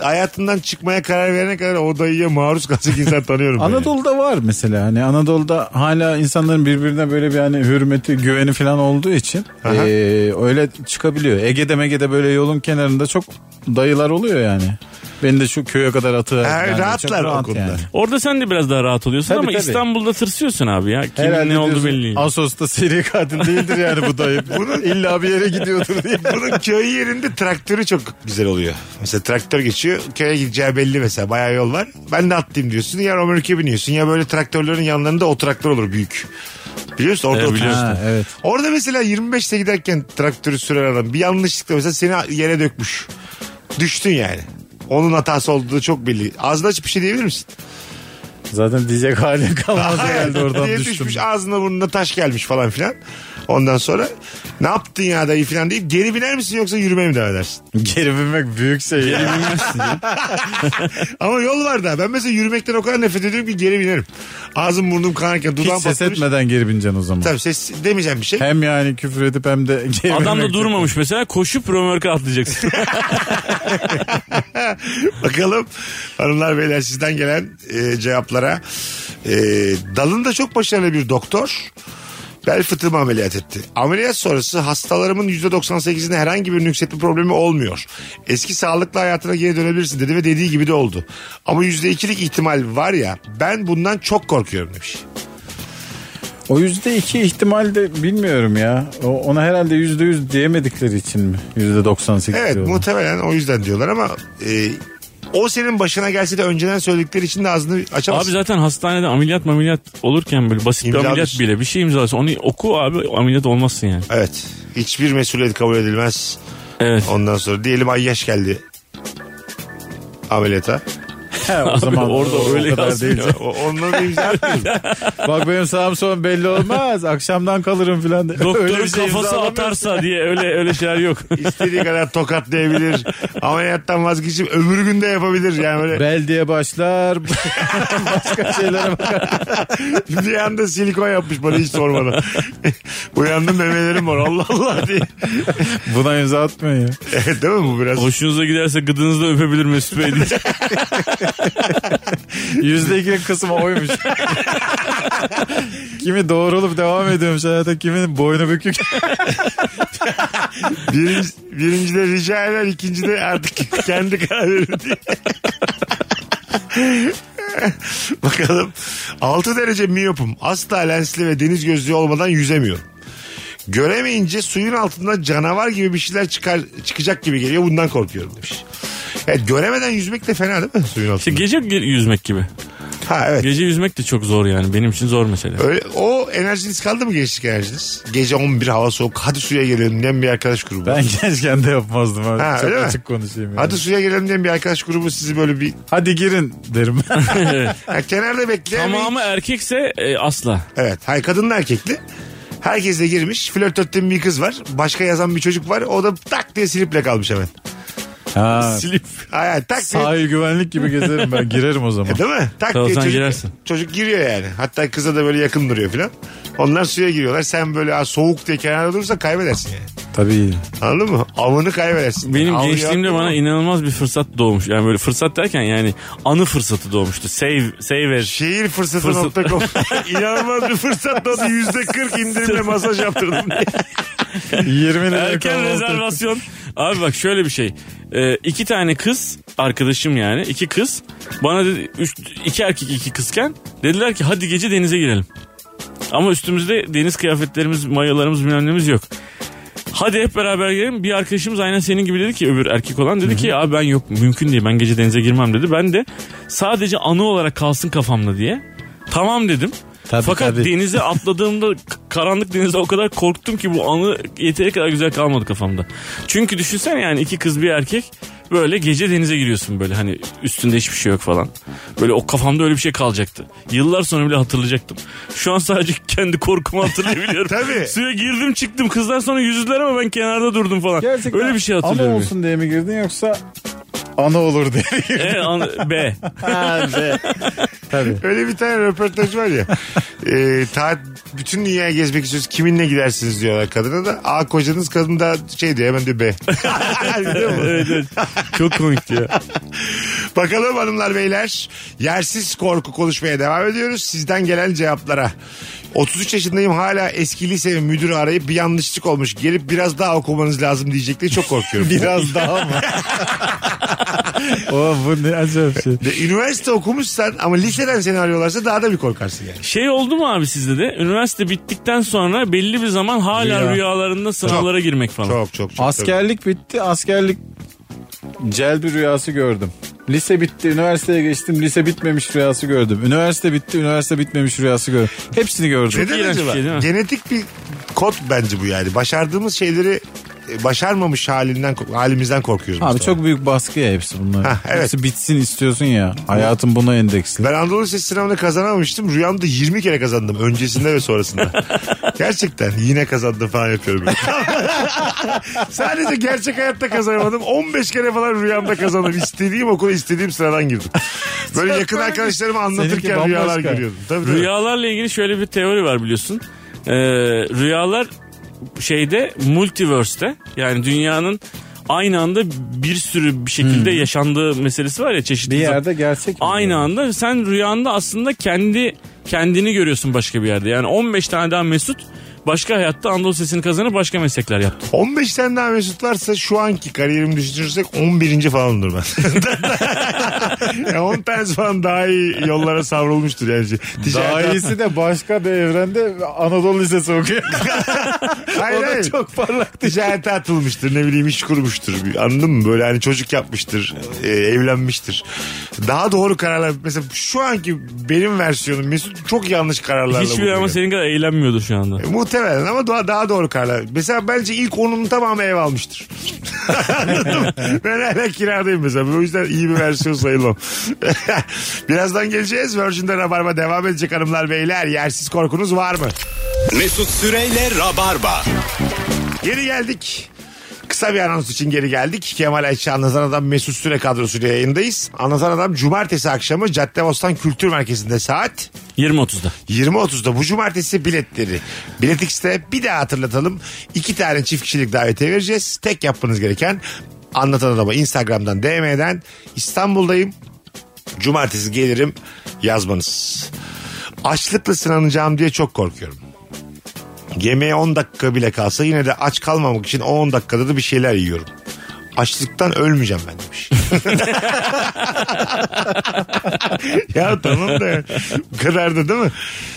S3: hayatından çıkmaya karar verene kadar o dayıya maruz kalacak insan tanıyorum. ben yani.
S4: Anadolu'da var mesela hani Anadolu'da hala insanların birbirine böyle bir hani hürmeti güveni falan olduğu için
S3: Aha.
S4: eee, öyle çıkabiliyor. Ege'de Mege'de böyle yolun kenarında çok dayılar oluyor yani. Beni de şu köye kadar atı.
S3: Ha, rahatlar o konuda.
S5: Orada sen de biraz daha rahat oluyorsun
S4: Tabii,
S5: ama
S4: tabii.
S5: İstanbul'da tırsıyorsun abi ya. Kimin
S4: Herhalde
S5: ne oldu
S4: diyorsun,
S5: belli değil.
S4: Asos'ta seri katil değildir yani bu dayı. Bunun illa bir yere gidiyordur diye.
S3: Bunun köy yerinde traktörü çok güzel oluyor. Mesela traktör geçiyor. Köye gideceği belli mesela. Bayağı yol var. Ben de atlayayım diyorsun. Ya Romörke biniyorsun. Ya böyle traktörlerin yanlarında o traktör olur büyük. Biliyorsun orada
S5: Evet,
S3: oturuyorsun.
S4: Ha, evet.
S3: Orada mesela 25'te giderken traktörü süren adam bir yanlışlıkla mesela seni yere dökmüş. Düştün yani. Onun hatası olduğu çok belli. Ağzını açıp bir şey diyebilir misin?
S4: Zaten diyecek halim kalmaz herhalde oradan
S3: Diye
S4: düştüm.
S3: düşmüş ağzına burnuna taş gelmiş falan filan. Ondan sonra ne yaptın ya dayı filan deyip geri biner misin yoksa yürümeye mi devam edersin?
S4: Geri binmek büyük şey. Geri
S3: Ama yol var da ben mesela yürümekten o kadar nefret ediyorum ki geri binerim. Ağzım burnum kanarken
S4: Hiç
S3: dudağım
S4: ses
S3: patlamış.
S4: etmeden geri bineceksin o zaman.
S3: Tabii ses demeyeceğim bir şey.
S4: Hem yani küfür edip hem de geri
S5: Adam da
S4: binmek-
S5: durmamış mesela koşup römörke atlayacaksın.
S3: Bakalım hanımlar beyler sizden gelen e, cevaplara. E, dalında çok başarılı bir doktor bel fıtığımı ameliyat etti. Ameliyat sonrası hastalarımın %98'inde herhangi bir nüksetme problemi olmuyor. Eski sağlıklı hayatına geri dönebilirsin dedi ve dediği gibi de oldu. Ama %2'lik ihtimal var ya ben bundan çok korkuyorum demiş.
S4: O yüzde iki ihtimal de bilmiyorum ya. O, ona herhalde yüzde yüz diyemedikleri için mi? Yüzde 98
S3: Evet
S4: diyorlar.
S3: muhtemelen o yüzden diyorlar ama e, o senin başına gelse de önceden söyledikleri için de ağzını
S5: abi
S3: açamazsın.
S5: zaten hastanede ameliyat ameliyat olurken böyle basit bir
S3: İmza
S5: ameliyat
S3: alıyorsun.
S5: bile bir şey imzalasın. Onu oku abi ameliyat olmazsın yani.
S3: Evet hiçbir mesuliyet kabul edilmez.
S5: Evet.
S3: Ondan sonra diyelim ay yaş geldi ameliyata.
S4: He, o zaman
S5: orada
S4: o- o
S5: öyle
S4: kadar
S5: yazmıyor.
S4: değil.
S3: O- Onunla da imza atmıyorum.
S4: Bak benim sağım son belli olmaz. Akşamdan kalırım filan. de. Öyle
S5: Doktorun
S4: bir şey
S5: kafası
S4: imzalamıyor.
S5: atarsa diye öyle öyle şeyler yok.
S3: İstediği kadar tokatlayabilir. Ameliyattan vazgeçip öbür gün de yapabilir. Yani böyle
S4: Bel diye başlar. Başka şeylere bakar.
S3: bir anda silikon yapmış bana hiç sormadan. Uyandım memelerim var Allah Allah diye.
S4: Buna imza atmıyor ya.
S3: Değil mi bu biraz?
S5: Hoşunuza giderse gıdınızda öpebilir Mesut Bey diye.
S4: Yüzde iki kısmı oymuş. kimi doğrulup devam ediyormuş hayata. Kiminin boynu bükük.
S3: Birinci, birincide rica eder, ikincide artık kendi karar verir diye. Bakalım. 6 derece miyopum. Asla lensli ve deniz gözlüğü olmadan yüzemiyorum. Göremeyince suyun altında canavar gibi bir şeyler çıkar çıkacak gibi geliyor. Bundan korkuyorum demiş. Evet göremeden yüzmek de fena değil mi suyun
S5: İşte
S3: altında?
S5: gece yüzmek gibi.
S3: Ha evet.
S5: Gece yüzmek de çok zor yani. Benim için zor mesele.
S3: Öyle, o enerjiniz kaldı mı gençlik enerjiniz? Gece 11 hava soğuk hadi suya gelelim diyen bir arkadaş grubu.
S4: Ben gençken de yapmazdım. Abi.
S3: Ha,
S4: Çok
S3: öyle mi?
S4: açık konuşayım. yani.
S3: Hadi suya gelelim diyen bir arkadaş grubu sizi böyle bir
S4: Hadi girin derim.
S3: Ha, kenarda bekleyen bir-
S5: Tamamı erkekse e, asla.
S3: Evet. Hayır kadınla erkekli. Herkes de girmiş. Flört ettiğim bir kız var. Başka yazan bir çocuk var. O da tak diye siliple kalmış hemen.
S4: ha,
S5: Silip.
S3: Ay, ay, tak diye.
S4: sahil güvenlik gibi gezerim ben girerim o zaman.
S3: Değil mi? Tak
S5: Tamam,
S3: diye
S5: sen
S3: çocuk,
S5: girersin.
S3: çocuk giriyor yani. Hatta kıza da böyle yakın duruyor falan. Onlar suya giriyorlar. Sen böyle "Aa, soğuk diye kenarda durursan kaybedersin yani.
S4: Tabii.
S3: Anladın mı? Avını kaybedersin.
S5: Benim
S3: Avı
S5: gençliğimde
S3: yaptın
S5: bana
S3: mı?
S5: inanılmaz bir fırsat doğmuş. Yani böyle fırsat derken yani anı fırsatı doğmuştu. Save, save as.
S3: Şehir fırsatı.com İnanılmaz bir fırsat da yüzde kırk indirimle masaj yaptırdım diye.
S4: 20 liraya
S5: Erken
S4: kahvaltı.
S5: rezervasyon. Abi bak şöyle bir şey. Ee, iki tane kız arkadaşım yani iki kız bana dedi, üç, iki erkek iki kızken dediler ki hadi gece denize girelim. Ama üstümüzde deniz kıyafetlerimiz, mayolarımız bilmem neyimiz yok. Hadi hep beraber girelim. Bir arkadaşımız aynen senin gibi dedi ki öbür erkek olan dedi ki abi ben yok mümkün değil ben gece denize girmem dedi. Ben de sadece anı olarak kalsın kafamda diye. Tamam dedim.
S4: Tabii,
S5: Fakat
S4: tabii.
S5: denize atladığımda k- karanlık denize o kadar korktum ki bu anı yeteri kadar güzel kalmadı kafamda. Çünkü düşünsene yani iki kız bir erkek Böyle gece denize giriyorsun böyle hani üstünde hiçbir şey yok falan. Böyle o kafamda öyle bir şey kalacaktı. Yıllar sonra bile hatırlayacaktım. Şu an sadece kendi korkumu hatırlayabiliyorum.
S3: Tabii.
S5: Suya girdim çıktım kızlar sonra yüzdüler ama ben kenarda durdum falan.
S4: Gerçekten
S5: öyle bir şey
S4: Ana
S5: hatırlıyorum.
S4: olsun diye mi girdin yoksa ana olur diye mi girdin?
S5: E, an- B.
S4: Ha, be. Tabii.
S3: Öyle bir tane röportaj var ya. e, ta, bütün dünyayı gezmek istiyoruz. Kiminle gidersiniz diyorlar kadına da. A kocanız kadın da şey diyor hemen diyor B. Biliyor musun?
S5: evet, evet. Çok komikti ya.
S3: Bakalım hanımlar beyler. Yersiz korku konuşmaya devam ediyoruz. Sizden gelen cevaplara. 33 yaşındayım hala eski lise müdürü arayıp bir yanlışlık olmuş. Gelip biraz daha okumanız lazım diyecek diye çok korkuyorum.
S4: Biraz daha mı? o bu ne acayip şey.
S3: De, Üniversite okumuşsan ama liseden seni arıyorlarsa daha da bir korkarsın yani.
S5: Şey oldu mu abi sizde de? Üniversite bittikten sonra belli bir zaman hala
S4: Rüya.
S5: rüyalarında sınavlara girmek falan.
S3: Çok çok çok.
S4: Askerlik bitti. Askerlik celbi rüyası gördüm. Lise bitti, üniversiteye geçtim. Lise bitmemiş rüyası gördüm. Üniversite bitti, üniversite bitmemiş rüyası gördüm. Hepsini gördüm.
S3: Neden
S5: iğrenç bir
S3: acaba?
S5: şey değil mi?
S3: Genetik bir kod bence bu yani. Başardığımız şeyleri e, başarmamış halinden kork- halimizden korkuyoruz.
S4: şey. Abi
S3: Mustafa.
S4: çok büyük baskı ya hepsi bunlar.
S3: Ha, evet.
S4: Hepsi bitsin istiyorsun ya. Hayatın buna endeksli.
S3: Ben Anadolu Lisesi sınavını kazanamamıştım. Rüyamda 20 kere kazandım. Öncesinde ve sonrasında. Gerçekten yine kazandım falan yapıyorum. ben. Sadece gerçek hayatta kazanamadım. 15 kere falan rüyamda kazandım. İstediğim okula istediğim sıradan girdim. Böyle yakın arkadaşlarıma anlatırken
S4: Seninki
S3: rüyalar
S4: bambaşka.
S3: görüyordum. Tabii, tabii.
S5: Rüyalarla ilgili şöyle bir teori var biliyorsun. Ee, rüyalar şeyde multiverse'te yani dünyanın aynı anda bir sürü bir şekilde yaşandığı meselesi var ya çeşitli.
S4: Hmm. Bir yerde gerçek mi?
S5: Aynı anda sen rüyanda aslında kendi kendini görüyorsun başka bir yerde. Yani 15 tane daha Mesut başka hayatta Anadolu sesini kazanıp başka meslekler yaptı.
S3: 15 tane daha Mesut varsa şu anki kariyerimi düşünürsek 11. falandır ben. yani 10 tanesi falan daha iyi yollara savrulmuştur yani.
S4: Daha
S3: Ticaret-
S4: iyisi de başka bir evrende Anadolu Lisesi okuyor.
S3: Hayır,
S4: o da
S3: hayır.
S4: çok parlak.
S3: ticarete atılmıştır ne bileyim iş kurmuştur anladın mı böyle hani çocuk yapmıştır e, evlenmiştir daha doğru kararlar mesela şu anki benim versiyonum Mesut çok yanlış kararlarla
S5: Hiçbir ama
S3: bulunuyor.
S5: senin kadar eğlenmiyordu şu anda.
S3: E, Muhtemelen ama daha, daha doğru kararlar. Mesela bence ilk onun tamamı ev almıştır. Anladın mı? ben hala kiradayım mesela. O yüzden iyi bir versiyon sayılmam. Birazdan geleceğiz. Virgin'de Rabarba devam edecek hanımlar beyler. Yersiz korkunuz var mı?
S2: Mesut Süreyle Rabarba.
S3: Geri geldik. Kısa bir anons için geri geldik. Kemal Ayça Anlatan Adam Mesut Süre kadrosuyla yayındayız. Anlatan Adam cumartesi akşamı Caddebostan Kültür Merkezi'nde saat
S5: 20.30'da.
S3: 20.30'da bu cumartesi biletleri. Bilet X'te bir daha hatırlatalım. İki tane çift kişilik davetiye vereceğiz. Tek yapmanız gereken anlatan adama Instagram'dan DM'den İstanbul'dayım. Cumartesi gelirim yazmanız. Açlıkla sınanacağım diye çok korkuyorum. Yemeğe 10 dakika bile kalsa yine de aç kalmamak için o 10 dakikada da bir şeyler yiyorum. Açlıktan ölmeyeceğim ben demiş. ya tamam da bu kadar da değil mi?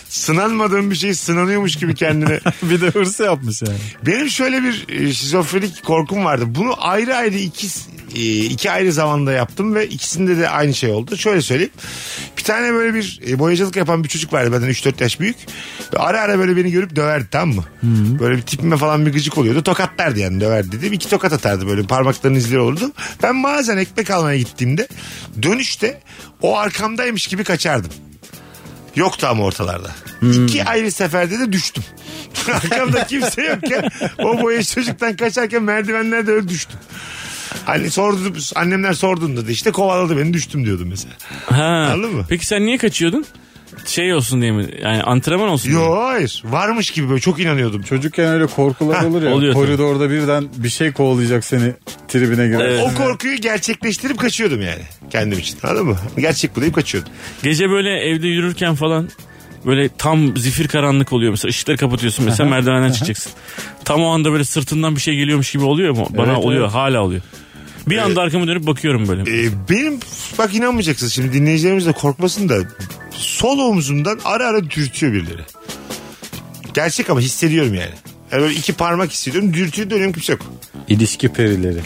S3: Sınanmadığım bir şey sınanıyormuş gibi kendine.
S4: bir de hırsı yapmış yani.
S3: Benim şöyle bir e, şizofrenik korkum vardı. Bunu ayrı ayrı iki e, iki ayrı zamanda yaptım ve ikisinde de aynı şey oldu. Şöyle söyleyeyim. Bir tane böyle bir e, boyacılık yapan bir çocuk vardı benden 3-4 yaş büyük. Ve Ara ara böyle beni görüp döverdi tamam mı? Böyle bir tipime falan bir gıcık oluyordu. Tokatlardı yani döverdi dedim. İki tokat atardı böyle parmaklarının izleri olurdu. Ben bazen ekmek almaya gittiğimde dönüşte o arkamdaymış gibi kaçardım. Yoktu ama ortalarda. İki ayrı seferde de düştüm. Arkamda kimse yokken o boya çocuktan kaçarken merdivenlerde öyle düştüm. Hani sordu, annemler sorduğunda da işte kovaladı beni düştüm diyordum mesela.
S5: Ha.
S3: Anladın mı?
S5: Peki sen niye kaçıyordun? Şey olsun diye mi? Yani antrenman olsun diye mi?
S3: Yo hayır varmış gibi böyle çok inanıyordum.
S4: Çocukken öyle korkular olur ya.
S5: oluyor tabii.
S4: koridorda birden bir şey kovalayacak seni tribine girer.
S3: O korkuyu gerçekleştirip kaçıyordum yani kendim için anladın mı? Gerçek bu deyip kaçıyordum.
S5: Gece böyle evde yürürken falan böyle tam zifir karanlık oluyor mesela ışıkları kapatıyorsun mesela merdivenden çıkacaksın. Tam o anda böyle sırtından bir şey geliyormuş gibi oluyor mu? Bana
S4: Evet,
S5: oluyor hala oluyor. Bir anda arkama dönüp bakıyorum böyle.
S3: Ee, benim bak inanmayacaksınız şimdi dinleyicilerimiz de korkmasın da sol omzumdan ara ara dürtüyor birileri. Gerçek ama hissediyorum yani. Yani böyle iki parmak hissediyorum. Dürtüyü dönüyorum kimse yok.
S4: İlişki perileri.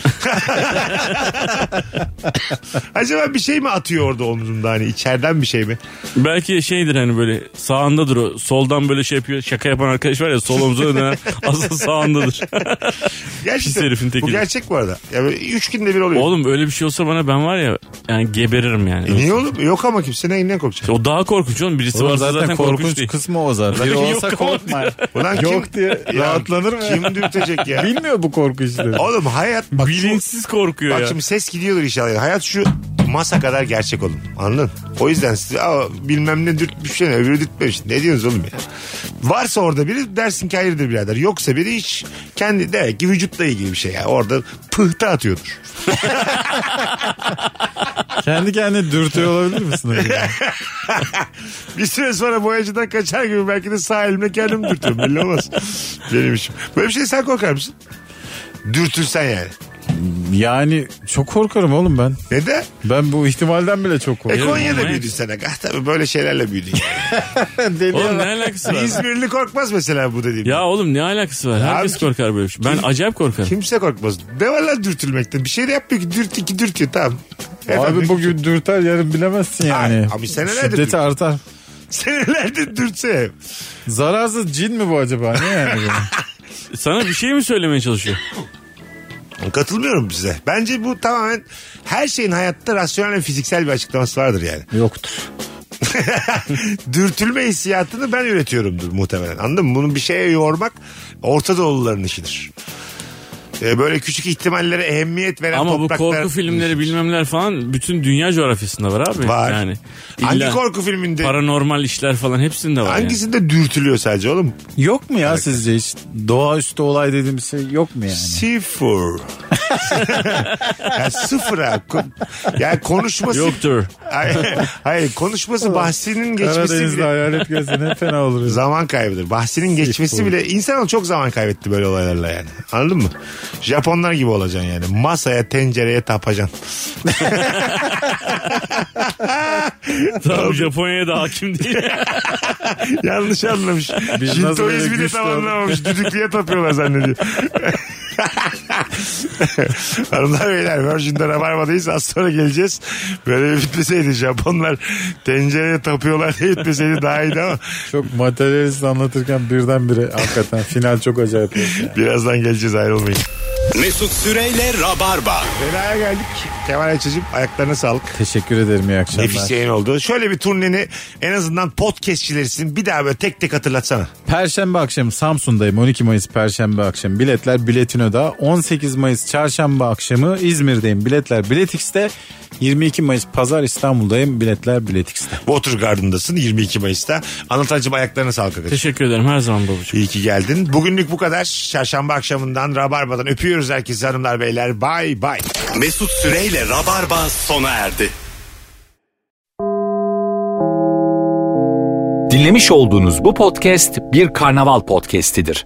S3: Acaba bir şey mi atıyor orada omzumda hani içeriden bir şey mi?
S5: Belki şeydir hani böyle sağındadır o. Soldan böyle şey yapıyor. Şaka yapan arkadaş var ya sol omzuna döner. Aslında sağındadır. Pis herifin
S3: bu
S5: tekini.
S3: gerçek bu arada. Ya böyle üç günde bir oluyor.
S5: Oğlum öyle bir şey olsa bana ben var ya yani geberirim yani.
S3: E niye oğlum? Yok ama kimse neyinden korkacak?
S5: O daha korkunç oğlum. Birisi
S4: Oğlum
S5: varsa zaten, korkunç, değil.
S4: kısmı o zaten. Biri
S5: Yok
S4: olsa
S5: ama
S4: korkma.
S3: Ulan kim-
S4: Yok diye
S3: Ya
S4: rahatlanır mı?
S3: Kim dürtecek ya?
S4: Bilmiyor bu korku işleri.
S3: Oğlum hayat bak, şu,
S5: Bilinçsiz korkuyor
S3: bak
S5: ya.
S3: şimdi ses gidiyordur inşallah. Hayat şu masa kadar gerçek oğlum. Anladın? O yüzden size "Aa, bilmem ne dürtmüş şey ne öbürü dürtmemiş. Ne diyorsunuz oğlum ya? Varsa orada biri dersin ki hayırdır birader. Yoksa biri hiç kendi demek ki vücutla ilgili bir şey ya. Orada pıhtı atıyordur.
S4: Kendi kendine dürtüyor olabilir misin? acaba?
S3: Bir süre sonra boyacıdan kaçar gibi belki de sağ elimle kendim dürtüyorum. Belli olmaz. Benim işim. Böyle bir şey sen korkar mısın? Dürtülsen yani.
S4: yani çok korkarım oğlum ben.
S3: Neden?
S4: Ben bu ihtimalden bile çok
S3: E
S4: korkuyorum.
S3: Konya'da
S5: olmaz.
S3: büyüdün sen. aga. Tabii böyle şeylerle büyüdün.
S5: Oğlum ne alakası var?
S3: İzmirli korkmaz mesela bu dediğim.
S5: Ya oğlum ne alakası var? Herkes
S3: Abi kim-
S5: korkar böyle bir şey. Ben acayip korkarım.
S3: Kimse korkmaz. Ne var lan dürtülmekten? Bir şey de yapmıyor ki. Dürt iki dürtüyor tamam.
S4: Abi
S3: E, Efendim,
S4: bugün dürter yarın
S3: Ay,
S4: bilemezsin yani.
S3: abi senelerde
S4: Şiddeti
S3: dürtüyor.
S4: artar.
S3: Senelerde dürtse.
S4: Zararsız cin mi bu acaba? Ne yani? bu?
S5: Sana bir şey mi söylemeye çalışıyor?
S3: Katılmıyorum size. Bence bu tamamen her şeyin hayatta rasyonel ve fiziksel bir açıklaması vardır yani.
S4: Yoktur.
S3: Dürtülme hissiyatını ben üretiyorumdur muhtemelen. Anladın mı? Bunu bir şeye yormak Orta Doğuluların işidir. Ee, böyle küçük ihtimallere ehemmiyet veren
S5: Ama bu
S3: topraklar-
S5: korku filmleri bilmemler falan bütün dünya coğrafyasında var abi.
S3: Var.
S5: Yani
S3: Hangi
S5: illa
S3: korku filminde?
S5: Paranormal işler falan hepsinde var yani.
S3: Hangisinde dürtülüyor sadece oğlum?
S4: Yok mu ya sizce hiç? Doğaüstü olay dediğimiz şey yok mu yani?
S3: Sıfır. ya sıfıra. Ko- Ya konuşması...
S5: Yoktur.
S3: Hayır, hayır, konuşması bahsinin geçmesi
S4: Karadeniz'de
S3: bile...
S4: hayalet gezse ne fena olur. ya.
S3: Zaman kaybıdır. Bahsinin geçmesi bile insan çok zaman kaybetti böyle olaylarla yani. Anladın mı? Japonlar gibi olacaksın yani. Masaya, tencereye tapacaksın.
S5: Tamam Japonya'ya da hakim değil.
S3: Yanlış anlamış.
S4: Biz nasıl böyle
S3: Şintoizmi de
S4: güçlü
S3: tam
S4: olduk?
S3: anlamamış. Düdüklüye tapıyorlar zannediyor. Hanımlar beyler Virgin'de Rabarba'dayız. Az sonra geleceğiz. Böyle bitmeseydi Japonlar tencereye tapıyorlar diye bitmeseydi daha iyiydi ama
S4: Çok materyalist anlatırken birdenbire hakikaten final çok acayip. oldu ya.
S3: birazdan geleceğiz ayrılmayın.
S2: Mesut Süreyle Rabarba.
S3: Fena'ya geldik. Kemal Ayça'cığım ayaklarına sağlık.
S4: Teşekkür ederim iyi akşamlar.
S3: Nefis yayın oldu. Şöyle bir turneni en azından podcastçiler için bir daha böyle tek tek hatırlatsana.
S4: Perşembe akşamı Samsun'dayım. 12 Mayıs Perşembe akşamı. Biletler Biletino'da. 18 Mayıs Çarşamba akşamı İzmir'deyim. Biletler Biletix'te. 22 Mayıs Pazar İstanbul'dayım. Biletler Biletix'te.
S3: Water Garden'dasın 22 Mayıs'ta. Anlatancım ayaklarına sağlık. arkadaşım.
S5: Teşekkür ederim her zaman babacığım.
S3: İyi ki geldin. Bugünlük bu kadar. Çarşamba akşamından Rabarba'dan öpüyoruz herkesi hanımlar beyler. Bay bay.
S2: Mesut Süreyle Rabarba sona erdi.
S1: Dinlemiş olduğunuz bu podcast bir karnaval podcastidir.